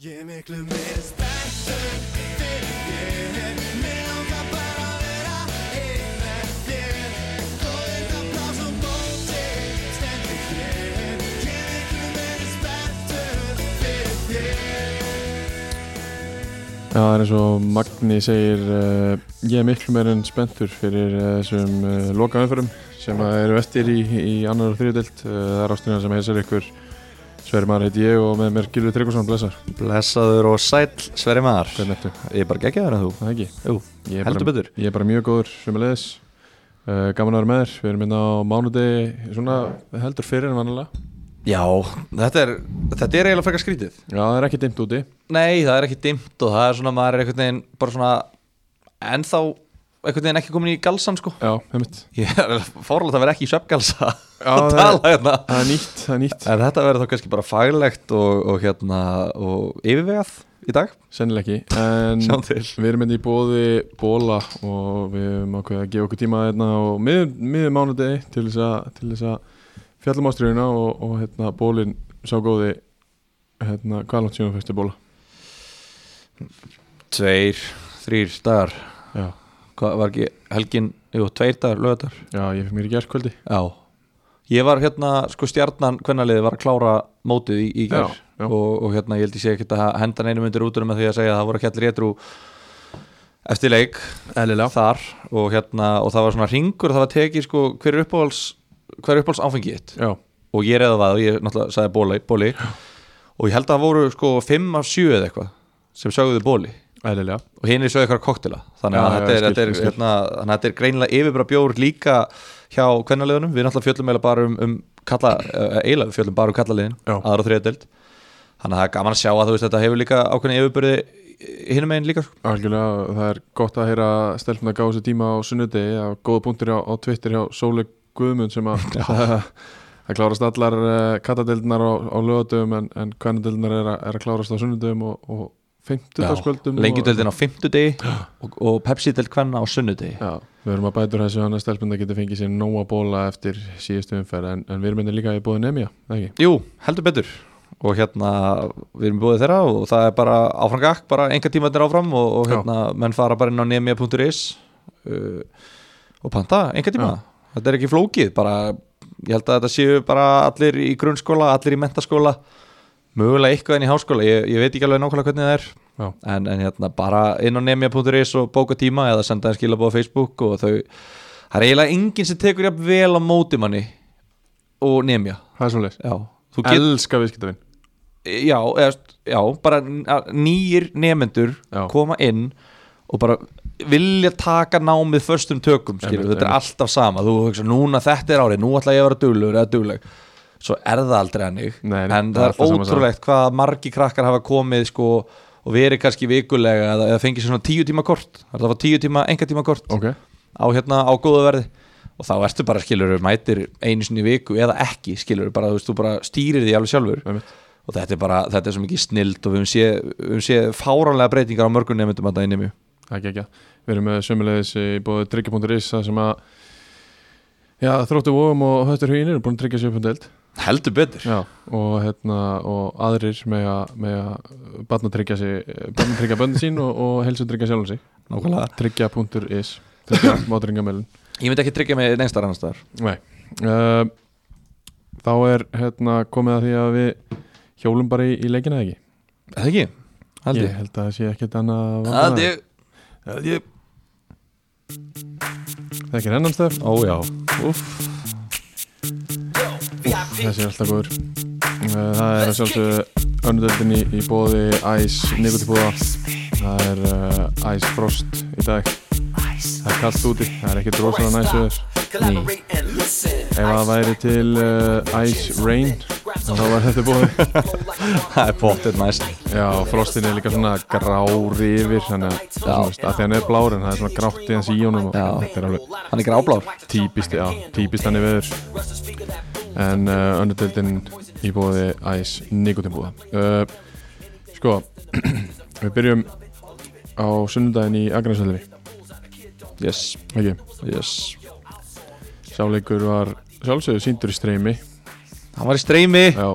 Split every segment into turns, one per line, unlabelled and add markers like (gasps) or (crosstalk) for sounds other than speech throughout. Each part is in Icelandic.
Ég er miklu meira spenntur fyrir þér Mér langar bara að vera einn með þér Góðið að plása á móti stendur hér Ég er miklu meira spenntur fyrir þér
Já, það er eins og Magni segir uh, ég er miklu meir en spenntur fyrir uh, þessum uh, lokaðanförum sem að eru eftir í, í annar og þriðdelt uh, það er ástina sem heilsar ykkur Sverri Mar heiti ég og með mér Gilvi Tryggvason blessar,
Blessaður og sæll, Sverri Mar
hvernig ertu?
Ég er bara geggjaður en þú
Það er ekki?
Jú,
ég er
heldur
bara,
betur
ég er bara mjög góður sem er leiðis uh, gaman að vera með þér, við erum hérna á mánudegi svona heldur fyrir en vanalega
Já, þetta er, þetta er eiginlega frekar skrítið
Já, það er ekki dimmt úti
Nei, það er ekki dimmt og það er svona, maður er einhvern veginn bara svona ennþá einhvern veginn ekki komin í galsan sko
Já, heimitt
Ég er fórlega að vera ekki í svefngalsa
Já, það
að
er-
tala hérna
Það er nýtt, það er nýtt
En þetta verður þá kannski bara faglegt og, og hérna og yfirvegað í dag
Sennileg ekki En
Sjá til.
við erum hérna í bóði Bóla og við erum ákveðið að gefa okkur tíma hérna á miðum, miðum mánudegi til þess að, til þess að fjallum ástriðuna og, og hérna Bólin sá góði hérna, hvað er langt síðan fyrstu Bóla?
Tveir, þrýr dagar
Já,
Hvað var ekki helgin, jú, tveir dagar, lögadar
já ég fyrir mér í gerðkvöldi
Já Ég var hérna, sko stjarnan kvennaliði var að klára mótið í, í
Já,
gær
já.
og, og hérna ég held ég sé ekkert að henda neinum undir útunum með því að segja að það voru að kjallir rétrú eftir leik
Eðlilega
þar og hérna og það var svona ringur það var tekið sko hver er uppáhalds hver er uppáhalds áfengið þitt
Já,
og ég reyða það og ég náttúrulega sagði bóli, bóli og ég held að það voru sko 5 af 7 eða eitthvað sem sögðu bóli
eðlilega
og hinn er sögðu eitthvað koktela þannig að
Já, já,
þetta er,
ég skil,
þetta er,
ég skil.
hérna, þannig að þetta er greinilega yfirbara bjór líka hjá kvennaliðunum, við náttúrulega fjöllum eiginlega bara um, um kalla, uh, eiginlega við fjöllum bara um kallaliðin
Já.
aðra og þriða deild þannig að það er gaman að sjá að þú veist þetta hefur líka ákveðin yfirbyrði hinum einn líka sko.
Algjörlega, það er gott að heyra stelpna gáðu sér tíma á sunnudegi að góða punktur á, á Twitter hjá Sóli Guðmund sem (laughs) að það klárast allar uh, kattadeildnar á, á lögadöfum en, en kvennadeildnar er, að- er að klárast á sunnudegum og, og fymtudagskvöldum
lengjudeildin á fimmtudegi
(gasps)
og, og Pepsi-deild kvenna á sunnudegi
Já, við erum að bætur þessu hann að stelpna geti fengið sér nóa bóla eftir síðustu umferð en, en við erum hérna líka í bóði nefnja, ekki?
Jú, heldur betur og hérna við erum búið þeirra og það er bara áfram gakk, bara enga tímatir áfram og, og
Já.
hérna menn fara bara inn á nemia.is uh, og panta enga tíma, þetta er ekki flókið bara, ég held að þetta séu bara allir í grunnskóla, allir í mentaskóla mögulega eitthvað inn í háskóla ég, ég veit ekki alveg nákvæmlega hvernig það er
Já.
en, en hérna bara inn á nemia.is og bóka tíma eða senda þeim skilabóð á Facebook og þau, það er eiginlega enginn sem tekur jafn vel á móti manni og nemja
Það er svolítið
Já, þú get,
Elska viðskiptavinn
já, eða, já, bara n- að nýjir nemyndur
Já.
koma inn og bara vilja taka námið förstum tökum, skilur,
Einmitt,
þetta er
einmitt.
alltaf sama þú hugsa, núna þetta er árið, nú ætla ég að vera duglegur eða dugleg, svo er það aldrei hannig,
Nei, nei,
en
það er
það
alltaf
er
sama sagan.
ótrúlegt hvað margi krakkar hafa komið sko og verið kannski vikulega eða, eða fengið svona tíu tíma kort, það er það var tíu tíma, enga tíma kort
Ok,
á hérna á góðu verði og þá ertu bara skilur mætir einu sinni í viku eða ekki skilur bara þú veist þú bara stýrir því alveg sjálfur
einmitt.
og þetta er bara þetta er svo mikið snild og við höfum séð við höfum séð fáránlega breytingar á mörgum nefndum að það inni mjög
ekki ekki, við erum með sömulegis í bóði tryggja.is það sem að já, þróttu vóum og höttur huginn eru búin að tryggja sér upp um deild
heldur betur
já, og, hérna, og aðrir með að, með að batna tryggja sig batna tryggja bönnum sín og, og helsu tryggja sjálfum sig
Nákvæmlega.
tryggja.is tryggja mátringamölin
ég myndi ekki tryggja mig neins þar annars þar
Nei uh, Þá er hérna, komið að því að við hjólum bara í, í leikina eða ekki
eða ekki held
Ég
ég
held að það sé ekkert annað að vanda
held ég
Held ég Það er ekki ennum stöf
ó já
Úff Þessi er alltaf góður Eh, Það er að sjálfsögðu önnudöldin í, í bóði Ice Nikotipúða Það er uh, Ice Frost í dag Það er kallt úti, það er ekkert rosalega næsöður
Collaborate and listen
Ef það væri til uh, Ice Rain þá var þetta bóði
það er pottet næst
Já, frostin er líka svona grári yfir þannig að,
Já.
þú veist, að því hann er blár en það er svona grátt í hans í honum og
Já.
þetta er alveg
hann er gráblár
típist, já, típist hann í veður en uh, öndutöldin í bóði æs nikotinbúða uh, Sko, (clears throat) við byrjum á sunnudaginn í Agranshöllinni
yes
ekki,
yes
sáleikur var sjálfsögðu síndur í streymi
hann var í streymi
Já,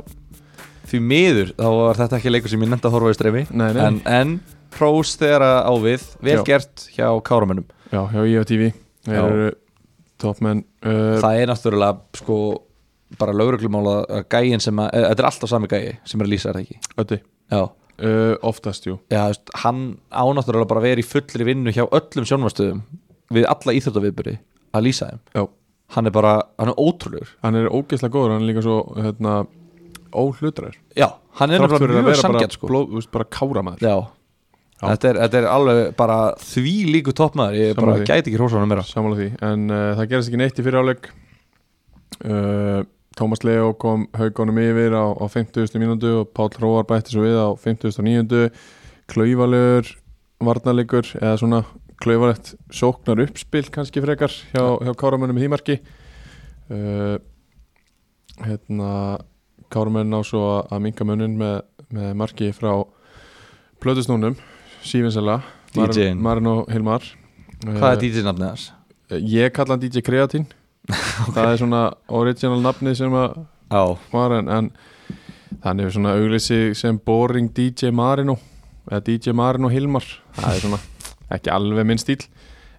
því miður þá var þetta ekki leikur sem ég nefndi að horfa í streymi
Nei, nei.
en, en prós þegar að á við vel
Já.
gert hjá káramönnum
Já, hjá E IFTV Þeir
Já.
eru topmenn uh,
það er náttúrulega sko bara lögreglumála að gæin sem að, eh, þetta er alltaf sami gæi sem er að lýsa er það ekki
Ötti,
já,
uh, oftast jú
já þú veist, hann ánáttúrulega bara að vera í fullri vinnu hjá öllum sjónvarstöðum við alla íþjóttaviðbyrði að lýsa þeim
Já.
hann er bara, hann er ótrúlegur
Hann er ógeðslega góður, hann er líka svo hérna, óhlutrar
já, hann er
Þrátt fyrir
náttúrulega
að
mjög
vera bara,
sangjart sko.
sko. blóð, þú veist, bara káramaður
já,
Já.
Þetta, er, þetta er alveg bara því líku toppmaður ég bara
Sammála því.
gæti ekki hrósa hann meira
Samanlega því, en uh, það gerist ekki neitt í fyrir áleik uh, Tómas Leo kom haugunum yfir á, á 50. mínútu og Páll Róar bætti svo við á 59. Klauvalur varnarleikur eða svona klauvalett sóknar uppspil kannski frekar hjá, hjá Káramönnum í þýmarki uh, hérna Káramenn á svo að- að minka munnin með, með marki frá plötusnúnum, Sývinsela
DJ-inn.
Marin og Hilmar Eh,
hvað er DJ-nafnið hans?
Ég kalla hann DJ Kreatín Það er svona original nafni sem að
já,
var en, en hann hefur svona auglýsi sem Boring DJ Marino eða DJ Marino Hilmar Það er svona ekki alveg minn stíl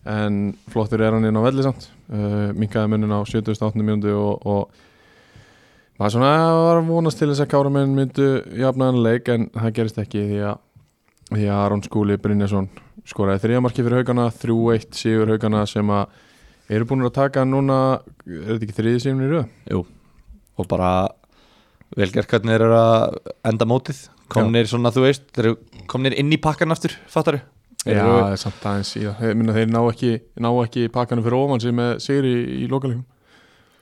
en flottur er hann inn á velli samt uh, minkaði munnin á 78. mjöndu og, og var svona eh, var að vonast til þess að kára minn myndu jafnaðan leik en það gerist ekki því að því að Aron Skúli Brynjason skoraði þriðamarki fyrir haugana 3-1 sigur haugana sem að eru búin að taka núna er þetta ekki þriði sigurinn í röð?
og bara velgerkarnir eru að enda mótið komnir svona þú veist þeir eru komnir inn í pakkan aftur, fattar
Já, það er samt aðeins í það Ég meina, Þeir ná ekki, ná ekki pakkanum fyrir ofan sig með sigri í, í lokalegum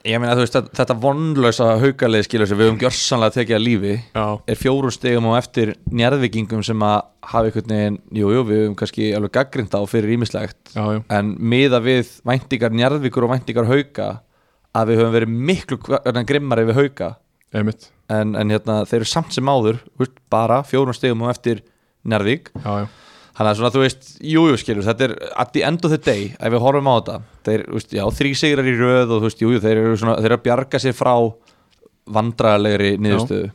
ég meina þú veist að, þetta vonlösa haukalið skilur sem við höfum gjörsanlega tekið að lífi
Já,
er fjórum stegum á eftir njærðvikingum sem að hafa einhvern veginn jú, jú, við höfum kannski alveg gaggrind á fyrir ímislegt
já, já,
en miða við væntingar njærðvikur og væntingar hauka að við höfum verið miklu hva- hérna, grimmari við hauka
einmitt
en, en hérna, þeir eru samt sem áður þú veist, bara fjórum stegum á eftir njærðvik
Já, já,
Þannig að svona, þú veist, jújú jú, skilur, þetta er at the end of the day, ef við horfum á þetta þeir, þú veist, já, þrý sigrar í röð og þú veist, jújú, jú, þeir eru svona, þeir eru að bjarga sér frá vandræðalegri niðurstöðu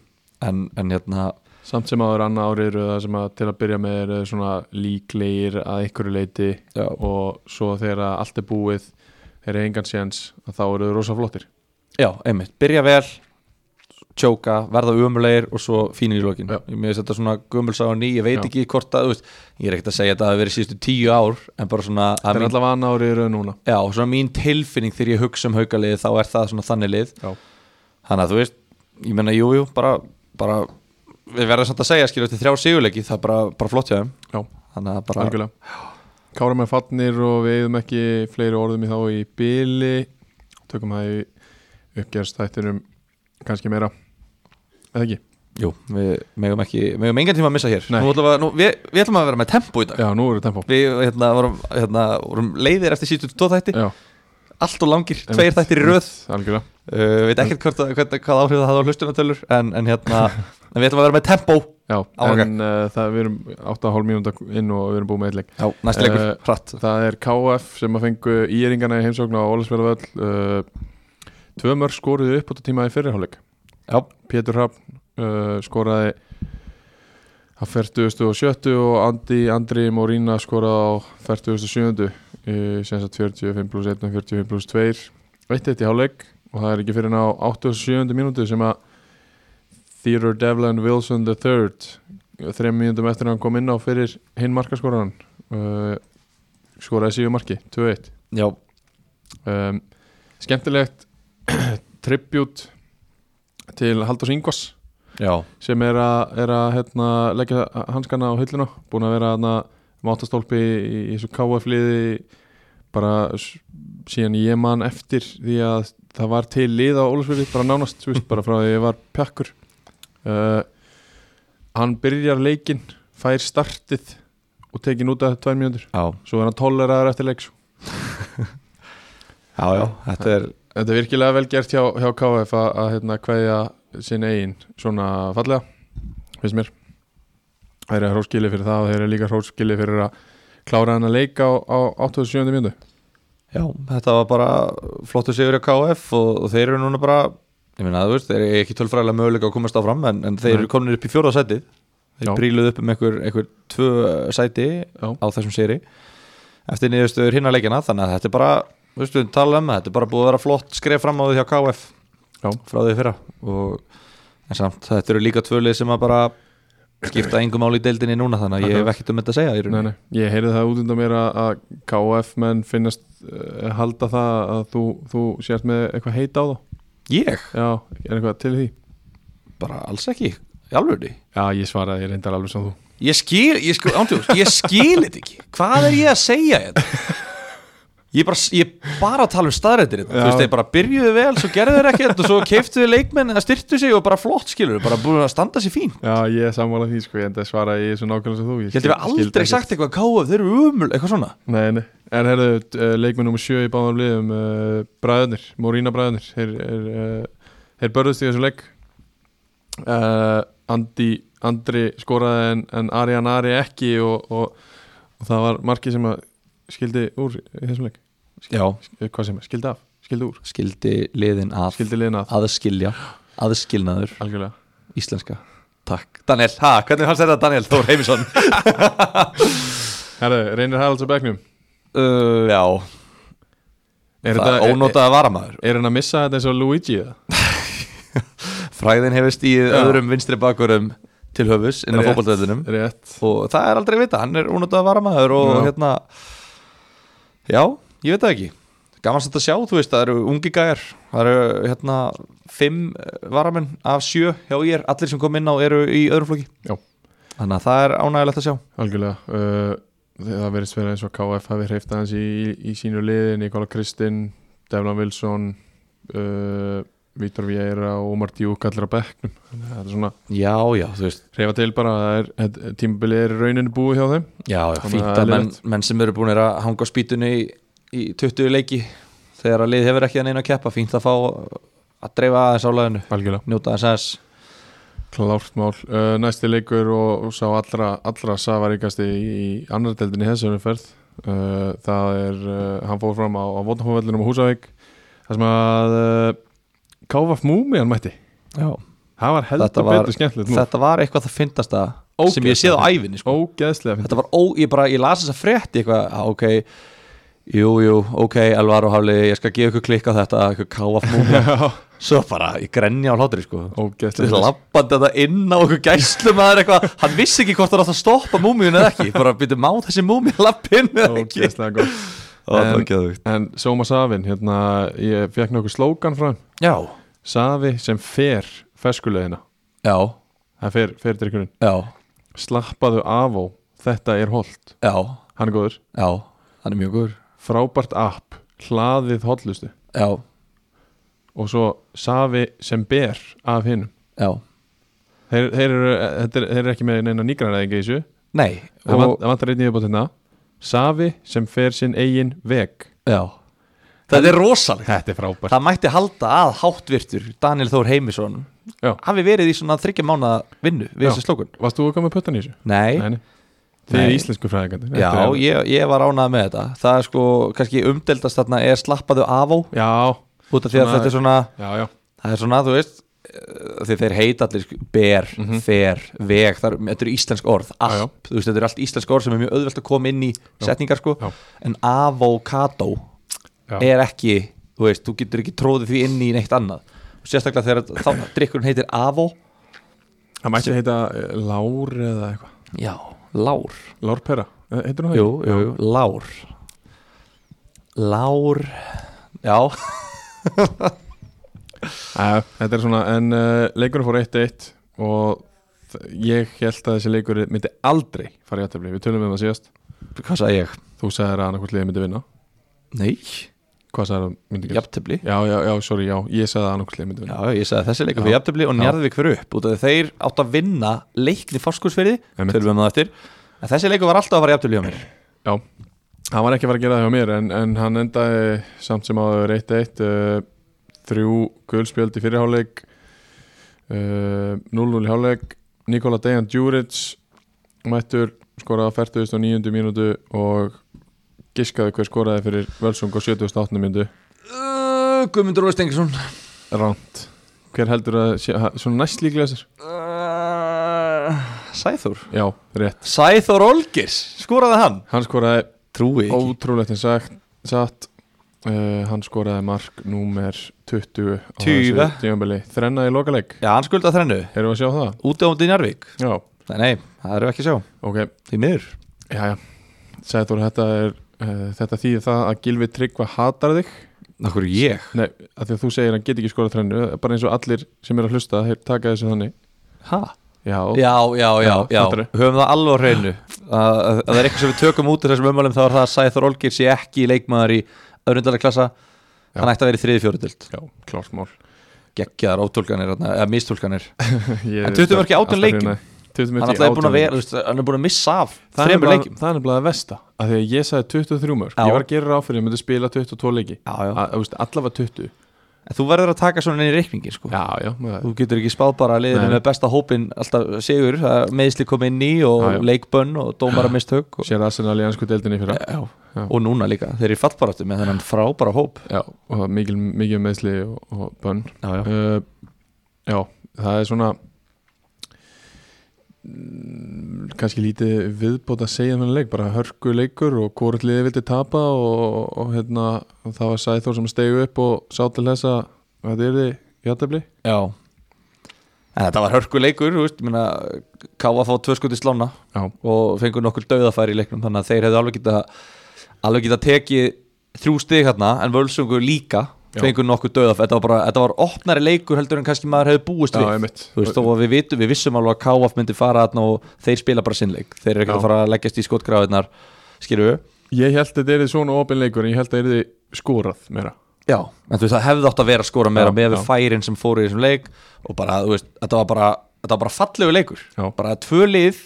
en, en hérna,
samt sem áður annað árið eru það sem að til að byrja með eru þeir svona líklegir að einhverju leiti
já,
og svo þegar að allt er búið þeir eru engan séns að þá eru þau rosa flottir
já, einmitt, byrja vel tjóka, verða umulegir og svo fínir í lokin,
Já.
ég mér finnst þetta svona gömulsá og ný, ég veit
Já.
ekki hvort að, þú veist ég er ekkert að segja þetta að það verið síðustu tíu ár en bara svona,
Þeir
að
eru
mín,
allavega annað árið eru núna
já, svona mín tilfinning þegar ég hugsa um haukaliðið, þá er það svona þannig lið
Já,
þannig að þú veist, ég menna jú, jú, bara, bara við verðum samt að segja, skilur, þetta er þrjá sigurleiki það er bara, bara flott hjá þeim
já,
þannig að bara,
algjörlega Kára með fatnir og við eigum ekki fleiri orðum í þá í byli tökum það í uppgerstættinum kannski meira eða ekki
jú, við megum ekki megum engan tíma að missa hér,
Nei.
nú ætlum við, að- nú, við, við ætlum að vera með tempo í dag,
Já, nú eru tempo
við hérna, vorum, hérna, vorum leiðir eftir síðustu tvo þætti,
Já,
allt og langir
Einmitt.
tveir þættir í röð,
algjörlega
uh, veit ekkert hvort, að- hvort, að- hvað áhrif það hafði á hlustunatölur, en, en (laughs) hérna en við ætlum að vera með tempo,
Já,
Áfram
en uh, það við erum 8,5 mínúnda inn og við erum búið með eitthvað
já, Uh, næsti leikur,
Eh,
hratt
Það er KF sem að fengu íringana í heimsókn á Ólasverðavöll uh, Tvö mörg skoruðu upp á tíma í fyrirháleik
já,
Pétur Hrafn uh, skoraði á 47 og Andi Andri Morína skoraði á 47 uh, sem sagt 45 pluss 1 og 45 pluss 2 eitt eitt í hálfleik og það er ekki fyrir en á 87. mínútu sem að Theodore Devlin Wilson III þrejum mínútum eftir að hann kom inn á fyrir hinn markaskoran uh, skoraði síðu marki, 2-1
já,
um, skemmtilegt (clears throat) tribut til Halldórs Ingvars
já,
sem er að, er að hérna, leggja hanskana á hilluna búin að vera hérna, mátastólpi í, í þessu KF-liði bara s- síðan ég man eftir því að það var til lið á Ólusfjörði bara nánast, þú veist, bara frá því ég var pjakkur uh, hann byrjar leikinn fær startið og tekin út af tvær mínútur
já,
svo er hann tóleraður eftir sko. leiks
já, já, þetta er
Þetta er virkilega vel gert hjá, hjá KF að, að hérna, kveðja sinn eigin svona fallega, finnst mér. Það eru hróskili fyrir það og þeir eru líka hróskili fyrir að klára hann að leika á, á 87. mjöndu.
Já, þetta var bara flottu sigur á KF og, og þeir eru núna bara ég meina þú veist, þeir eru ekki tölfræðilega möguleika að komast áfram en, en þeir
Nei.
eru komin upp í fjóra sæti þeir
Já.
príluðu upp um einhver, einhver tvö sæti
Já.
á þessum séri eftir niðurstöður hinna leikina þannig að þetta er bara, þú veist, við tala um að þetta er bara búið að vera flott skref fram á því hjá KF
Já.
frá því í fyrra og, en samt, þetta eru líka tvölið sem að bara skipta engum máli í deildinni núna þannig að ég hef ekkert um þetta að segja í
Nei,
rauninni.
nei, ég heyrði það út undan mér að, að KF menn finnast uh, halda það að þú, þú sért með eitthvað heita á þá
ég,
Já, er eitthvað til í því?
bara alls ekki í alvörði
Já, ég svaraði, ég reyndar alveg sem þú
Ég skil, ég skil, ándjóðs, ég skil þetta ekki Hvað er ég að segja þetta? Ég er bara, ég er bara að tala um staðrættir þetta Þú
Já.
veist, þeir bara byrjuðu vel, svo gerðu þeir ekkert og svo keiftu þeir leikmenn eða styrtu sig og bara flott skilur Bara búin að standa sér fín
Já, ég er sammála því, sko, ég enda svaraði ég svo nákvæmlega sem þú
Ég held ég við
skildi
aldrei
ekkert.
sagt eitthvað káf, þeir eru umul, eitthvað svona
Nei, nei, en herðu, uh, leikminn nr. 7 í báðum liðum uh, Bræðunir, Morína Bræðunir Þeir, er, uh, þeir börðust í þessu leik uh, Andi, Andri skoraði en, en Arian Ari ekki og, og, og það var markið sem að skildi úr í þessum leik
Já,
Eh, Hvað sem er, skildi af, skildi úr
skildi liðin að,
Skildi liðin að,
aðskilja, aðskilnaður,
algjörlega
íslenska Takk, Daniel, ha, hvernig fannst þetta Daniel Þór Heimisson?
Herðu, reynir Haralds á bekknum
(laughs) uh, já,
Er
það
þetta-
er ónotaða varamaður
Er hann að missa þetta eins og Luigi eða?
fræðin hefur stíð
Já.
öðrum vinstri bakurum til höfus inn á
Rétt.
fótballtöðunum
Rétt
og það er aldrei að vita, hann er unöndað varamaður og
Já.
hérna já, ég veit það ekki gaman samt að sjá, þú veist, það eru ungi gæjar það eru hérna fimm eh, varamenn af sjö hjá ég allir sem kom inn á eru í öðrum flokki
Já.
þannig að það er ánægilegt að sjá
Algjörlega uh, Það verðist verið eins og KF hafi hreift aðeins í, í, í sínu liði Nikola Kristinn, Devlan Wilson uh, Vítor Vieira og Omar Djúk allir á bekknum Þannig að Þetta er svona
já, já, þú veist,
hreifa til bara það er, þetta- tímabilið er í rauninni búið hjá þeim
já, já,
Þannig að
fínt
það er
að menn,
leiðilegt.
menn sem eru búinir að hanga á spýtunni í, í 20 leiki þegar að lið hefur ekki að neina að keppa fínt að fá að dreifa aðeins álæðinu
Algjörlega
njóta þess aðeins
Klárt mál uh, Næsti leikur og, og sá allra, allra safaríkasti í, í annar deildinni í þessu umferð uh, Það er, uh, hann fór fram á, á Votnafóvellinum á Húsavík Það sem að uh, KF Múmi hann mætti
já,
Það var
Þetta
heldur
var-
betur skemmtilegt nú
þetta var eitthvað það fyndast að sem ég séð á ævinni sko.
Ógeðslega fyndið
þetta var ó, ég bara, ég las þess að frétti eitthvað, á, ok jú, jú, ok, Alvaro Hafli ég skal gefa ykkur klikk á þetta, ykkur káaf múmi svo bara, ég grenja á hlátri sko
(laughs) Ógeðslega fyndið
lappandi þetta inn á okkur gæslum að eitthvað, hann vissi ekki hvort hann átt að stoppa múmiun eða ekki, bara býtu má þessi múmi lappinn eða ekki
Ógeðslega gott
Ó, það var
En-
geðveikt.
En Soma Savin, hérna Ég fekk nokkuð slókan frá hann
já,
Savi sem fer ferskulegina
já,
Það fer, fer drikkurinn
já,
Slappaðu af og þetta er holt
já
Hann er góður
já, hann er mjög góður
Frábært app Hlaðið hotlustu
já,
Og svo Savi sem ber af hinn
já,
Þeir, þeir, eru, þetta er- þeir eru ekki með neina nýgranæðingi í þessu
nei
Það vant- það vantar einnig upp á þetta Savi sem fer sinn eigin veg
já þetta er rosalegt
Þetta er frábært
Það mætti halda að háttvirtur Daniel Þór Heimisson
Já.
hafi verið í svona þryggja mána vinnu við
Já.
þessi slókun
Varst þú að koma með pötan í þessu?
Nei,
Nei, nei. Þið er
Nei.
íslensku fræðingandi
já, ég, ég var ánað með þetta Það er sko, kannski umdeldast þarna er slappaðu af á
Já,
út af því að
Svona-
þetta er svona
já, já
það er svona, þú veist eh, því þeir heita allir sko, ber, fer, veg þar, þetta eru íslensk orð, app
Mhm. já.
þú veist, þetta eru allt íslensk orð sem er mjög auðvelt að koma inn í setningar sko,
Já.
en avocado
Já.
er ekki, þú veist, þú getur ekki tróðið því inn í neitt annað og sérstaklega þegar þá drikkurinn heitir avo
Það mætti heita eh, Lár eða eitthvað
já, lár
Lárpera, Eh, heitir hún það?
jú, jú, jú, lár lár já,
Æ, Eh, Þetta er svona, en uh, leikurinn fór 1-1 og þ- ég held að þessi leikur myndi aldrei fara í aðtefli Við tölum við það síðast
hvað sagði ég
Þú sagðir að annarkvort liðið myndi vinna
nei,
Hvað sagðir að myndi gerast?
jafntöfli
Já, já, já, sorry, já, ég sagði að annarkvort liðið myndi vinna
Já, ég sagði að þessi leikur fyrir
Já.
jafntefli og
Já.
njárðvík fyrir upp út af því þeir átt að vinna leikni fórskursferði,
Einmitt.
tölum við um það eftir en þessi leikur var alltaf að fara jafntefli á mér
Já, hann var ekki að fara að gera það hjá mér en, en hann endaði samt sem áður 1-1 uh, þrjú guðspjöld í fyrirháleik uh, 0-0 í háleik Nikola Dejan Djuric mættur skoraði á 49. mínútu og giskaði hver skoraði fyrir Völsung á 78. mínútu
uh, Guðmundur Óli Stengisson
Ránt hver heldur að sé, ha- svona næst líklega þessir
uh, Sæþór
já, rétt,
Sæþór Olgers, skoraði hann
hann skoraði
Trúi ekki
ótrúlegt en sagt, satt uh, hann skoraði mark númer 20 á
20.
þessu tímabili þrennaði lokaleik,
Já, hann skuldaði þrennu
erum við að sjá það?
Úti á undir Njarvík
já,
Nei, nei, það erum við ekki að sjá
ok,
Því miður
já, já Sæður, þetta er uh, þetta þýðir það að Gilvi Tryggva hatar þig
Nákvæmur ég
nei, af því að þú segir að hann get ekki skorað þrennu eh, bara eins og allir sem er að hlusta þeir taka þessu þannig
Ha?
já,
Já, já, já,
Já,
já
fattarðu.
Höfum það alveg á hreinu að, að það er eitthvað sem við tökum út úr þessum umvalum þá er það að Sæþór Olgir sé ekki leikmaður í öðrundalega klassa
Já.
Hann ætti að vera í þriði fjóruðild
já klárt mál
Gekkjaðar ótólkanir, þarna, eða mistólkanir
Ég
En
er
20 mörk í
alltaf
18 leikjum.
hrifinn af- 20
Hann
mörk í
alltaf er búin
18
að
leikjum
vera, þú veist, hann er búin að missa af
Það er
Þremur
nefnilega-
leikjum
það er nefnilega að vesta af því að ég sagði 23 mörk
Já.
ég var að gera ráð fyrir að ég myndi spila 22 leiki
Já, já
að, þú veist, allavega 20
En þú verður að taka svona inn í reikningin, sko
já, já, maður-
Þú getur ekki spáð bara að liðinu
Nei.
með besta hópin alltaf sigur, það er meðsli komið inn í og
Já, já.
leikbönn
(clears throat)
og dómara mistökk og,
sér Arsenal í ansku deildinni fyrir
já.
Já.
og núna líka, þeir eru í fallbaráttu með þennan frábara hóp
já, og það er mikil, mikil meðsli og, og bönn
já, já.
uh, já, það er svona Mm, kannski lítið viðbót að segja um þennan leik, bara hörku leikur og hvort liðið vildi tapa og, og, og hérna, og það var Sæþór sem stegu upp og sá til þess að þetta er því játtabli
já En þetta var hörku leikur, þú veist, ég meina Káa fá tvö skot í slána
Já.
og fengur nokkur dauðafæri í leiknum þannig að þeir hefðu alveg geta alveg geta tekið þrjú stig hérna en völsungur líka
Já.
fengur nokkur dauðafæri, þetta var bara, þetta var opnari leikur heldur en kannski maður hefði búist
Já,
við
einmitt.
þú veist, þó að við vitum, við vissum alveg að Káaf myndi fara þarna og þeir spila bara sinnleik þeir eru ekki
Já.
að fara að leggjast í skotgrafinnar skilju,
ég held að þetta er svona opin leikur en ég held að þetta er skorað meira
já, en þú veist, það hefði átt að vera að skora meira
Já,
með við
já.
færin sem fóru í þessum leik og bara, þú veist, þetta var bara þetta var bara fallegu leikur,
Já.
bara tvö lið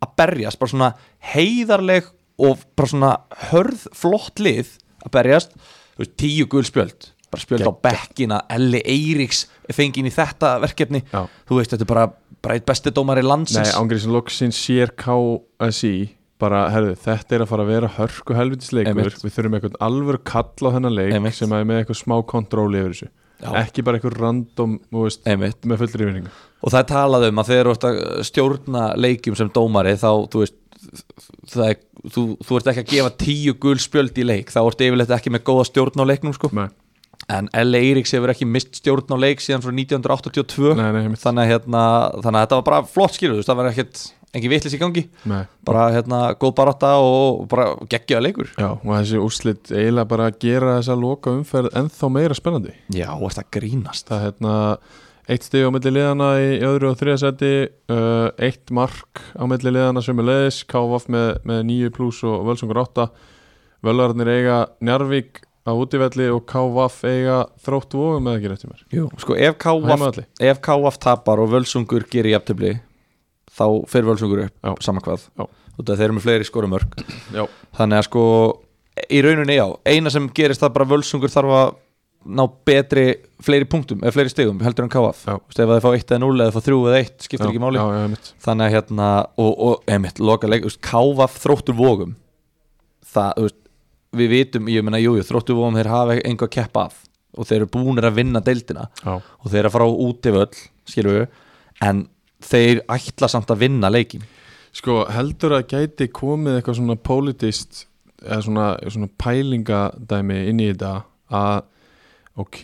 að berjast, bara svona heiðarleg og bara svona hörð flott lið að berjast þú veist, tíu gulspjöld bara spjöld á bekkina, Elli Eiríks fengið í þetta verkefni
Já.
þú veist, þetta er bara, bara eitt besti dómari landsins
Nei, ángriðsinn loksins sér KSI bara, herðu, þetta er að fara að vera hörku helvitis leikur,
Einmitt.
við þurfum eitthvað alvöru kall á þennan leik
Einmitt.
sem er með eitthvað smá kontróli yfir þessu
Já.
ekki bara eitthvað random, þú veist,
Einmitt.
með fullri yfinningu
og það er talað um að þegar þú ert að stjórna leikjum sem dómari þá þú veist það er, þú, þú ert ekki að gefa tíu gul spjöld í leik þá ert yfirleitt ekki með góða stjórn á leiknum sko.
Nei,
en L.A. Eiríks hefur ekki mist stjórn á leik síðan frá 1982
nei, nei, einmitt.
þannig að, hérna, þannig að þetta var bara flott skilur þú veist, það var ekkert engin vitlis í gangi
nei.
bara hérna, góð barátta og bara geggjaða leikur
Já, og þessi úrslit eiginlega bara að gera þessa loka umferð ennþá meira spennandi
já, þetta grínast
það er hérna eitt stig á milli liðana í í öðru og þriða seti uh, eitt mark á milli liðana sem er leiðis, KVF með, með 9 pluss og Völsungur 8 Völvarnir eiga Njarvík á útivelli og KVF eiga þrótt vóðum eða ekki rétt í mér
Jú. sko ef KF,
Heimavalli.
ef KF tapar og Völsungur gerir jafntöfli þá fer Völsungur upp
Já.
sama hvað
Já.
Út af þeir eru með fleiri skorumörk
Já,
þannig að sko í rauninni já, eina sem gerist það bara Völsungur þarf að ná betri fleiri punktum, eða fleiri stigum heldur en KF,
Já.
Þú veist, ef þeir fá 1 eða 0 eða þeir fá 3 eða 1, skiptir ekki máli
Já, já, mitt
þannig að hérna, og, og einmitt, loka leik, þú veist, KF þróttur vógum það, þú veist, við vitum ég meina, jújú, þróttur vógum þeir hafa einhver kepp af og þeir eru búnir að vinna deildina
Já,
og þeir eru að fara á útivöll skilur við, en þeir ætla samt að vinna leikin
Sko, heldur að gæti komið eitthvað svona politist eða svona, svona pælingadæmi inn í þetta að ok,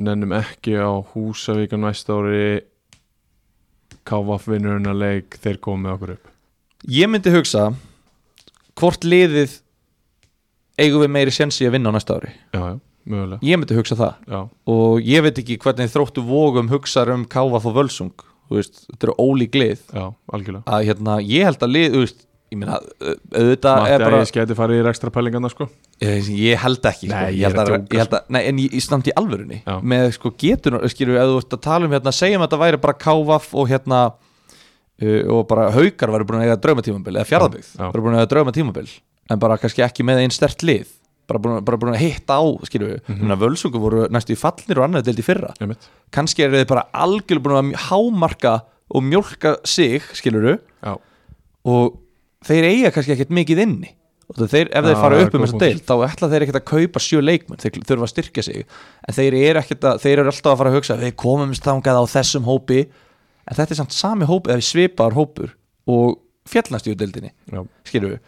nennum ekki á Húsavík á næsta ári KVF vinnur hennar leik þeir komið okkur upp
Ég myndi hugsa hvort liðið eigum við meiri sensi að vinna á næsta ári
Já, já, mögulega
Ég myndi hugsa það
Já,
og ég veit ekki hvernig þróttu vógum hugsar um Kávaf og Völsung Þú veist, þetta eru ólík lið
já, algjörlega
að hérna, ég held að lið þú veist, ég meina, au- auðvitað
Matti
er bara
Ægis gæti farið í rekstra pælingarna sko
ég, Eh, ég held ekki sko.
Nei, ég
ég
er að
held að,
djóka,
ég held að, nei, en ég, ég samt í alvörunni
Já.
með sko getur, skilur við, ef þú ert að tala um hérna, segjum að þetta væri bara Kávaf og hérna uh, og bara haukar væri búin að eiga draumatímabil eða fjárðabygg,
Já, já.
væri búin að eiga draumatímabil en bara kannski ekki með einn stert lið bara búin, bara búin að hitta á, skilur við
Mhm.
mm -hmm. völsungu voru næstu í fallinir og annaði deild í fyrra
Einmitt.
kannski eru þið bara algjörlega búin að hámarka og mjólka sig, skilur við
Já,
og þeir eiga kannski ekkert mikið inni Og það þeir, ef
Já,
þeir fara
það er
upp um
góð
þess að
punktur.
deild þá ætla þeir ekkert að kaupa sjö leikmenn þeir þurfa að styrkja sig en þeir eru, ekkert að, þeir eru alltaf að fara að hugsa við komumst þangað á þessum hópi en þetta er samt sami hópi eða svipar hópur og fjallnast í deildinni
Já.
skilur við